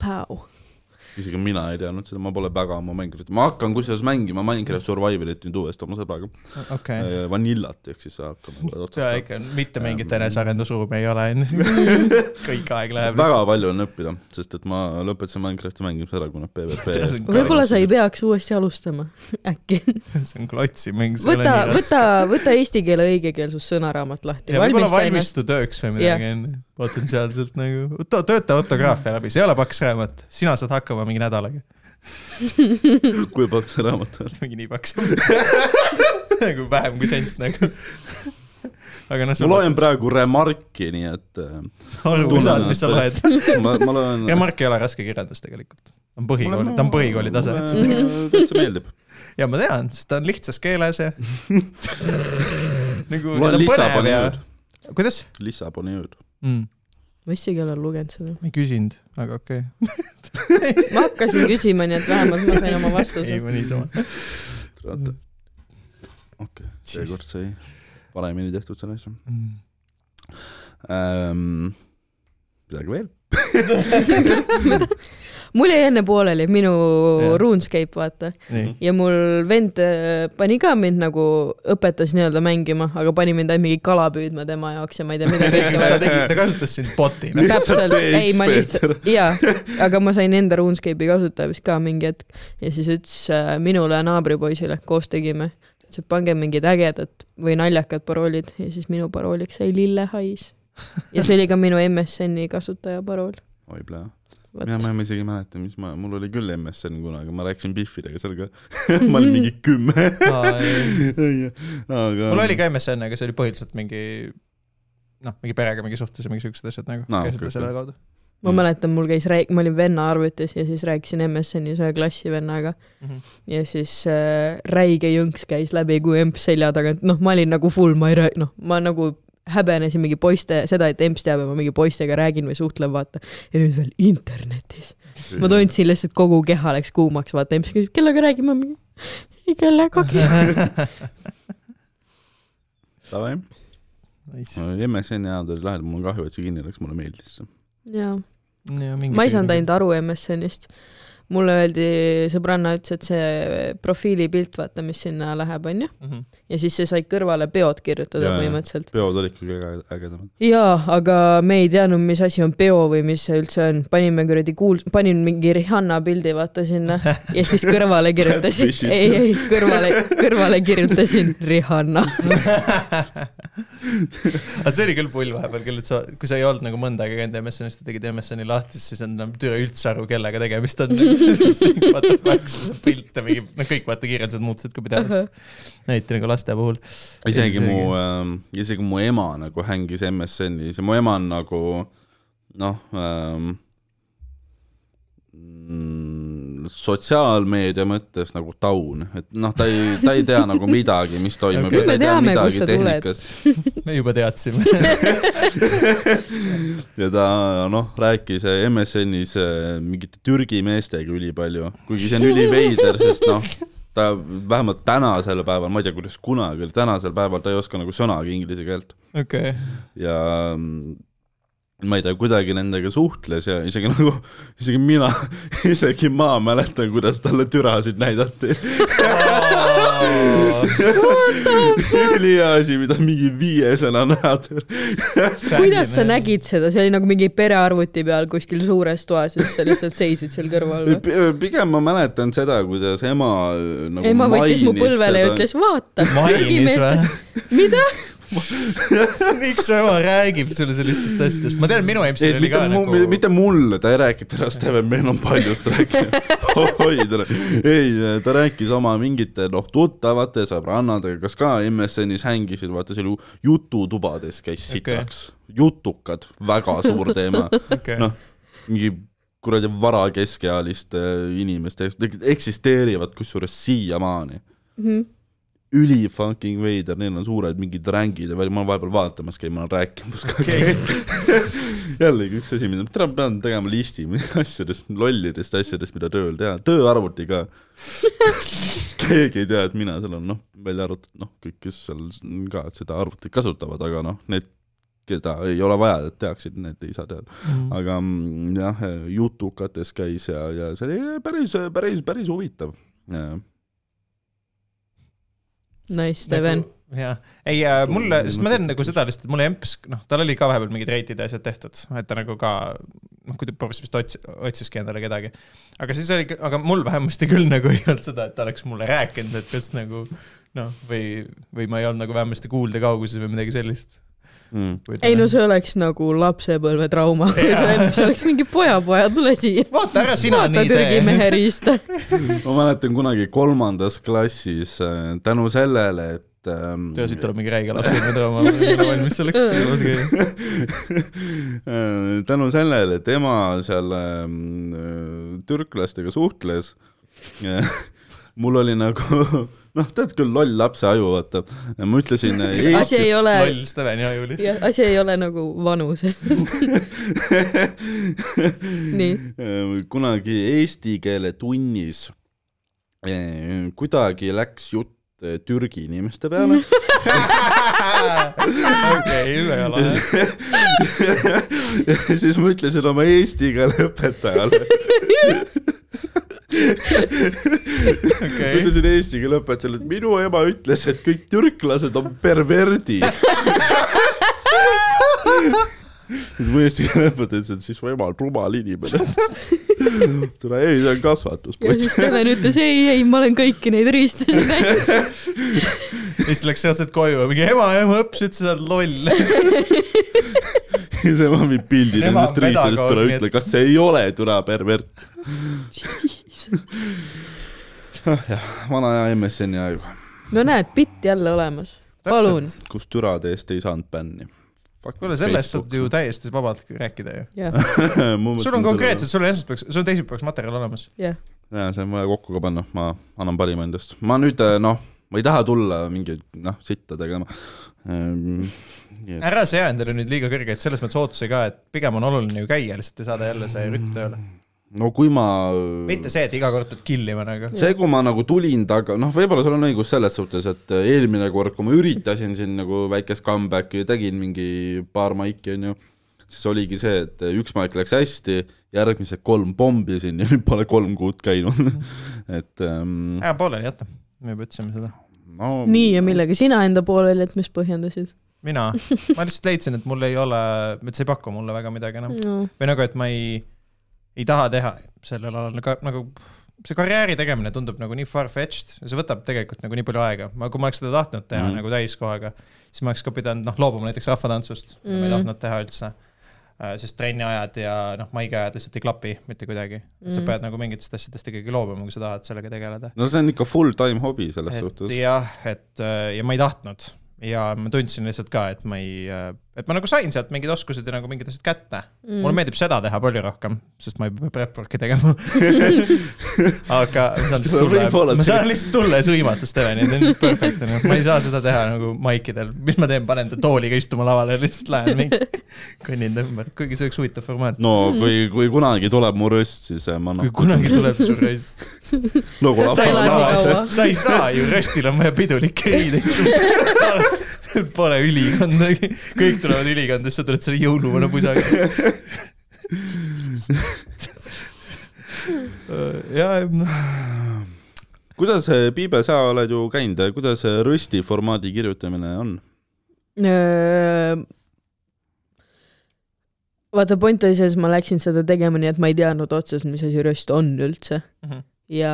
Päu . isegi mina ei teadnud seda , ma pole väga oma Minecrafti , ma hakkan kusjuures mängima Minecraft Survivalit nüüd uuesti oma sõbraga okei okay. . okay. , Vanillat , ehk siis hakkame kohe otsast ja peale. ikka mitte mingit enesearendusruumi ei ole , onju . kõik aeg läheb . väga palju on õppida , sest et ma lõpetasin Minecrafti mängimise ära , kuna PvP võib-olla sa ei peaks uuesti alustama , äkki . see on klotsiming . võta , võta , võta eesti keele õigekeelsussõnaraamat lahti , ja võib-olla valmista ennast . valmistu tööks või midagi onju , potentsiaalselt nagu , tööta autograafia läbi , see ei ole paks raamat , sina saad hakkama mingi nädalaga , kui paks see raamat on . mingi nii paks . nagu vähem kui sent nagu . aga noh , ma loen praegu Remarki , nii et äh, aru tunnen saad , mis sa ennast loed . ma , ma loen . remark ei ole raske kirjeldus tegelikult , ta on põhikooli , ta on põhikooli tase . täitsa meeldib . ja ma tean , sest ta on lihtsas keeles ja nagu . loen Lissaboni ööd ,. kuidas Lissaboni ööd . mm, ? ma isegi ei ole lugenud seda . ma ei küsinud , aga okei okay. . ma hakkasin küsima , nii et vähemalt ma sain oma ei , vastuse . ma niisama . okei okay, , seekord sai paremini tehtud selle asja Mm. ähm, . midagi veel ? mul jäi enne pooleli minu Jah. RuneScape , vaata . nii . Mhm. ja mul vend äh, pani ka mind nagu , õpetas nii-öelda mängima , aga pani mind ainult mingi kala püüdma tema jaoks ja ma ei tea , mida kõike ta veel . tegi , ta kasutas sind botina . täpselt , ei ma lihtsalt , jaa , aga ma sain enda RuneScape'i kasutaja vist ka mingi hetk ja siis ütles äh, minule ja naabripoisile , koos tegime , ütles , et pange mingid ägedad või naljakad paroolid ja siis minu parooliks sai lillehais . ja see oli ka minu MSN-i kasutaja parool . oi plää , mina ma isegi ei mäleta , mis ma , mul oli küll MSN kunagi , ma rääkisin Biffidega seal ka . ma olin mingi kümme . aga . mul oli ka MSN , aga see oli põhiliselt mingi noh , mingi perega mingi suhtes ja mingi siuksed asjad nagu Aa, no, käisid okei, okay, selle kaudu . ma mäletan , mul käis rääk- , ma olin venna arvutis ja siis rääkisin MSN-is ühe klassivennaga ja siis äh, räige jõnks käis läbi kui emp selja tagant , noh , ma olin nagu full , ma ei rää- , noh , ma nagu häbenesin mingi poiste , seda , et emps teab , et ma mingi poistega räägin või suhtlen , vaata . ja nüüd veel internetis . ma . tundsin lihtsalt kogu keha läks kuumaks , vaata , emps küsib , kellega räägin , ma mingi , ei kellegagi . Davai , MSN-i ajad olid lahedad , mul on kahju , et see kinni läks , mulle meeldis see . jaa ma ei saanud ainult aru MSN-ist . mulle öeldi , sõbranna ütles , et see profiilipilt , vaata , mis sinna läheb , onju , ainult . ja siis sa said kõrvale peod kirjutada Jaa, jaa. põhimõtteliselt . peod olid ikkagi äge- ägedamad . jaa , aga me ei teadnud , mis asi on peo või mis see üldse on , panime kuradi kuul- , panin mingi Rihanna pildi vaata sinna ja siis kõrvale kirjutasin , Catfish'id. ei , ei , kõrvale , kõrvale kirjutasin Rihanna . aga see oli küll pull vahepeal küll , et sa , kui sa ei olnud nagu mõnda aega käinud MSN-ist ja tegid MSN-i lahti , siis on enam türa üldse aru , kellega tegemist on . What the fuck , see pilt ja mingi , noh kõik vaata kirjeldused muutusid ka pidevalt . eriti nagu laste puhul . isegi Isegi- mu ähm, , isegi mu ema nagu hängis MSN-is ja mu ema on nagu noh ähm, , mm, sotsiaalmeedia mõttes nagu taun , et noh , ta ei , ta ei tea nagu midagi , mis toimub Okei. okay. , ta ei Me tea teame, kust midagi sa tuled. tehnikast me juba teadsime . ja ta noh , rääkis MSN-is äh, mingite Türgi meestega ülipalju , kuigi see on üliveider , sest noh , ta vähemalt tänasel päeval , ma ei tea , kuidas kunagi , tänasel päeval ta ei oska nagu sõnagi inglise keelt . okei . ja mm, ma ei tea , kuidagi nendega suhtles ja isegi nagu , isegi mina , isegi ma mäletan , kuidas talle türasid näidati . ülihea asi , mida mingi viiesõna näed . kuidas sa ? nägid seda , see oli nagu mingi perearvuti peal kuskil suures toas ja siis sa lihtsalt seisid seal kõrval või ? pigem ma mäletan seda , kuidas ema äh, nagu ema võttis mu mainis põlvele ja seda- ütles , vaata , mainis Türgimeeste- või ? mida ? miks su ema räägib sulle sellistest asjadest , ma tean , minu ei emsil , oli mitte ka mu nagu nagu... ,, mitte mulle , ta ei rääkinud täna Steven , meil on paljust rääkida . oi , tere . ei , ta rääkis oma mingite noh , tuttavate sõbrannadega , kes ka MSN-is hängisid , vaata seal ju jututubades käis Okei. sitaks okay. . jutukad , väga suur teema . okay. noh , mingi kuradi varakeskealiste inimeste eksisteerivad kusjuures siiamaani . Mhm. üli fucking veider , neil on suured mingid rängid ja veel ma olen vahepeal vaatamas käin , ma olen rääkimas ka Okei. käinud . jällegi üks asi , mida ma täna pean tegema listi asjadest , lollidest asjadest , mida tööl teha , tööarvuti ka . keegi ei tea , et mina seal olen , noh , välja arvatud noh , kõik , kes seal s- ka seda arvutit kasutavad , aga noh , need keda ei ole vaja , et teaksid need isad ja aga mm, jah , jutukates käis ja , ja see oli päris , päris , päris huvitav . Nice , Steven . Nagu, jah , ei äh, mulle , sest ma teen nagu seda lihtsalt , et mulle emps , noh , tal oli ka vahepeal mingid reitid ja asjad tehtud , et ta nagu ka , noh , kui ta proovib , siis ta otsis , otsiski endale kedagi . aga siis oli , aga mul vähemasti küll nagu ei olnud seda , et ta oleks mulle rääkinud , et kas nagu noh , või , või ma ei olnud nagu vähemasti kuulda kauguses või midagi sellist . Mm. ei no see oleks nagu lapsepõlvetrauma , see oleks mingi pojapoja , tule siia . vaata ära , sina vaata nii Türgi tee . mehe riista . ma mäletan kunagi kolmandas klassis äh, tänu sellele , et ähm, tea , siit tuleb mingi räige lapsenõudrama , ma ei ole valmis selleks . äh, tänu sellele , et ema seal ähm, äh, türklastega suhtles , mul oli nagu noh , tead küll , loll lapse aju , vaata . ma ütlesin äh, asi ei ole , loll Steven ja Juli . asi ei ole nagu vanuses . nii , Äh, kunagi eesti keele tunnis eh, kuidagi läks jutt eh, Türgi inimeste peale okei , väga lahe . ja siis ma ütlesin oma eesti keele õpetajale , ma okei . ütlesin eesti keele õpetajale , et minu ema ütles , et kõik türklased on perverdid . siis mu eesti keele õpetaja ütles , et siis mu ema on rumal inimene . tule ei , see on ja siis kasvatuspoiss . Steven ütles ei , ei , ma olen kõiki neid riistasid näinud . ja siis läks sealt koju ja mingi ema , ema õppis , ütles , et sa oled loll . siis ema viib pildi Ema on nendest riistadest , pedagoog, tule nii et- ütle , kas see ei ole türa pervert . Ah, jah , vana aja MSN-i aegu , no näed , bitt jälle olemas . palun . kus türade eest ei saanud bänni . kuule , sellest saad ju täiesti vabalt rääkida ju . jah , sul sul on konkreetselt , sul on esmaspäevaks , sul on teisipäevaks materjal olemas . jah . jaa , see on vaja kokku ka panna , ma annan parima endast . ma nüüd äh, noh , ma ei taha tulla mingeid noh , sitta tegema . Ehm, ära sea endale nüüd liiga kõrgeid selles mõttes ootusi ka , et pigem on oluline ju käia , lihtsalt ei saada jälle see rütm tööle . no kui ma mitte see , et iga kord pead kill ima nagu . see , kui ma nagu tulin taga , noh , võib-olla sul on õigus selles suhtes , et äh, eelmine kord , kui ma üritasin siin nagu väikest comeback'i , tegin mingi paar maiki , onju , siis oligi see , et äh, üks maik läks hästi , järgmised kolm pommisin ja nüüd pole kolm kuud käinud . et ähm, ära pooleli jäta , me juba ütlesime seda . no nii , ja millega sina enda pooleli , et mis põhjendasid mina , ma lihtsalt leidsin , et mul ei ole , et see ei paku mulle väga midagi enam . no. ? või nagu , et ma ei , ei taha teha sellel alal , aga nagu see karjääri tegemine tundub nagu nii far-fetched ja see võtab tegelikult nagu nii palju aega , ma , kui ma oleks seda tahtnud teha Mhm. mm. nagu täiskohaga , siis ma oleks ka pidanud noh , loobuma näiteks rahvatantsust mm. , ma Mhm. ei tahtnud teha üldse . sest trenni ajad ja noh , maigi ajad lihtsalt ei klapi mitte kuidagi mm. , sa Mhm. pead nagu mingitest asjadest ikkagi loobuma , kui sa tahad sellega tegeleda . no see on ikka full time hobi selles et suhtes . jah , et äh, ja ma ei tahtnud ja ma tundsin lihtsalt ka , et ma ei , et ma nagu sain sealt mingid oskused ja nagu mingid asjad kätte mm. . mulle meeldib seda teha palju rohkem , sest ma ei pea prep work'i tegema . aga ma saan Seda lihtsalt tulla võib-olla , ma saan lihtsalt tulla ja sõimata Steveni , ta on perfekt , onju . ma ei saa seda teha nagu maikidel , mis ma teen , panen ta tooliga istuma lavale ja lihtsalt lähen mingi kõnnin ta ümber , kuigi see oleks huvitav formaat . no kui , kui kunagi tuleb mu röst , siis äh, ma kui noh , kunagi tuleb su röst . nagu Kas sa lapsel- elad nii kaua? sa ei saa ju , röstil on vaja pidulikke riideid . Pole ülikonda , kõik tulevad ülikondadest , sa tuled selle jõuluvana pusaga . ja , noh , kuidas , Piibe , sa oled ju käinud , kuidas äh, rösti formaadi kirjutamine on ? vaata , point oli selles , ma läksin seda tegema , nii et ma ei teadnud otseselt , mis asi röst on üldse Mhm. . ja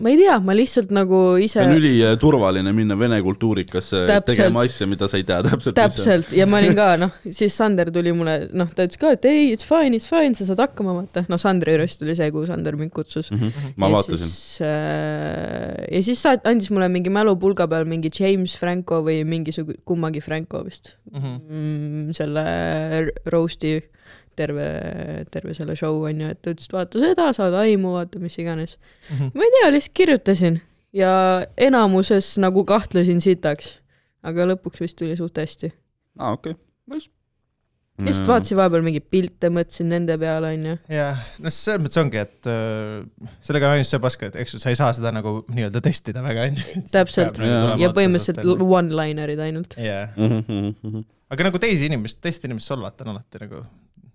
ma ei tea , ma lihtsalt nagu see ise Noh. on üliturvaline minna vene kultuurikasse Täpselt. tegema asja , mida sa ei tea täpselt, mis see on . täpselt ja ma olin ka noh , siis Sander tuli mulle , noh , ta ütles ka , et ei , it's fine , it's fine , sa saad hakkama , vaata . no Sandri röst oli see , kuhu Sander mind kutsus . Mm Mhm. -hmm. ma ja vaatasin , siis, äh, ja siis saat- , andis mulle mingi mälupulga peal mingi James Franco või mingisugune , kummagi Franco vist mhm, mm, , selle r- roast'i terve , terve selle show on ju , et ta ütles , et vaata seda , saad aimu , vaata mis iganes . mhm. ma ei tea , lihtsalt kirjutasin ja enamuses nagu Ah, kahtlesin sitaks , aga lõpuks vist tuli suht hästi . aa okei okay. , just vaatasin vahepeal mingeid pilte , mõtlesin nende peale , onju . jah , no selles mõttes ongi , et öö, sellega on ainult see pask , et eks ju , sa ei saa seda nagu nii-öelda testida väga , onju . Täpselt. Ja nagu ja põhimõtteliselt l- . one-linerid ainult . jah , -hmm. aga nagu teisi inimesi , teist inimest solvata on alati nagu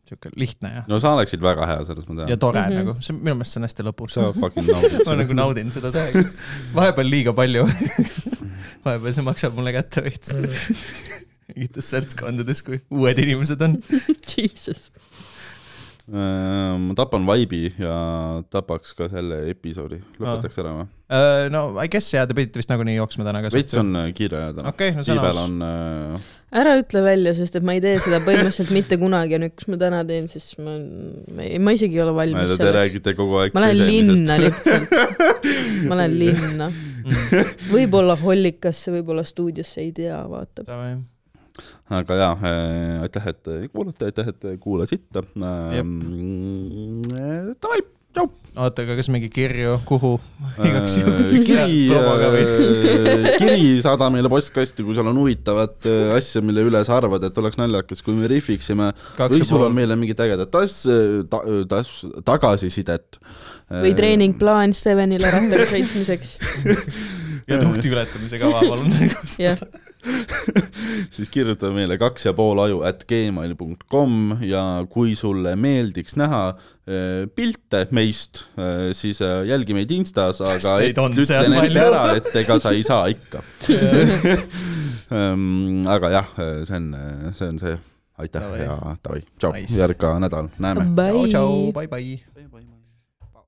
sihuke lihtne ja , no sa oleksid väga hea selles , ma ja tean . tore Mhm. nagu , see on- minu meelest see on hästi lõbus . sa fucking naudid ma nagu naudin seda täiega . vahepeal liiga palju . Mhm. vahepeal see maksab mulle kätte veits . mingites seltskondades , kui uued inimesed on . Jesus . Äh, ma tapan vaibi ja tapaks ka selle episoodi , Ah. lõpetaks ära või ? Äh, no I guess jaa , te pidite vist nagunii jooksma täna ka . veits . on äh, kiire täna okay, . okei , no see on tiibel aus . on äh, ära ütle välja , sest et ma ei tee seda põhimõtteliselt mitte kunagi ja nüüd , kus ma täna teen , siis ma , ma isegi ei ole ma ei valmis tea , te räägite kogu aeg . ma lähen linna . lihtsalt . ma lähen linna . Mm. võib-olla hollikasse , võib-olla stuudiosse , ei tea , vaatab . aga jaa äh, , aitäh , et kuulate , aitäh , et kuulasite äh, . Davai , tšau . oota , aga kas mingi kirju , kuhu ? Äh, igaks juhuks . kiri , kiri saada meile postkasti , kui sul on huvitavat äh, asja , mille üle sa arvad , et oleks naljakas , kui me rihviksime äh, või sul on meile mingit ägedat asja , ta- , tas- , tagasisidet . Äh, Äh, või . treeningplaan Stevenile rattaga sõitmiseks . ja tuhti ületamise kava , palun . jah , siis kirjuta meile kaks ja pool aju at gmail punkt kom ja kui sulle meeldiks näha eh, pilte meist , siis eh, jälgi meid Instas , aga Teid et- on seal ütlen ette palju. ära , et ega sa ei saa ikka . aga jah , see on , see on see , aitäh Davai. ja davai , tšau , Nice. järg ka nädal , näeme . tšau , tšau , bye . bye-bye .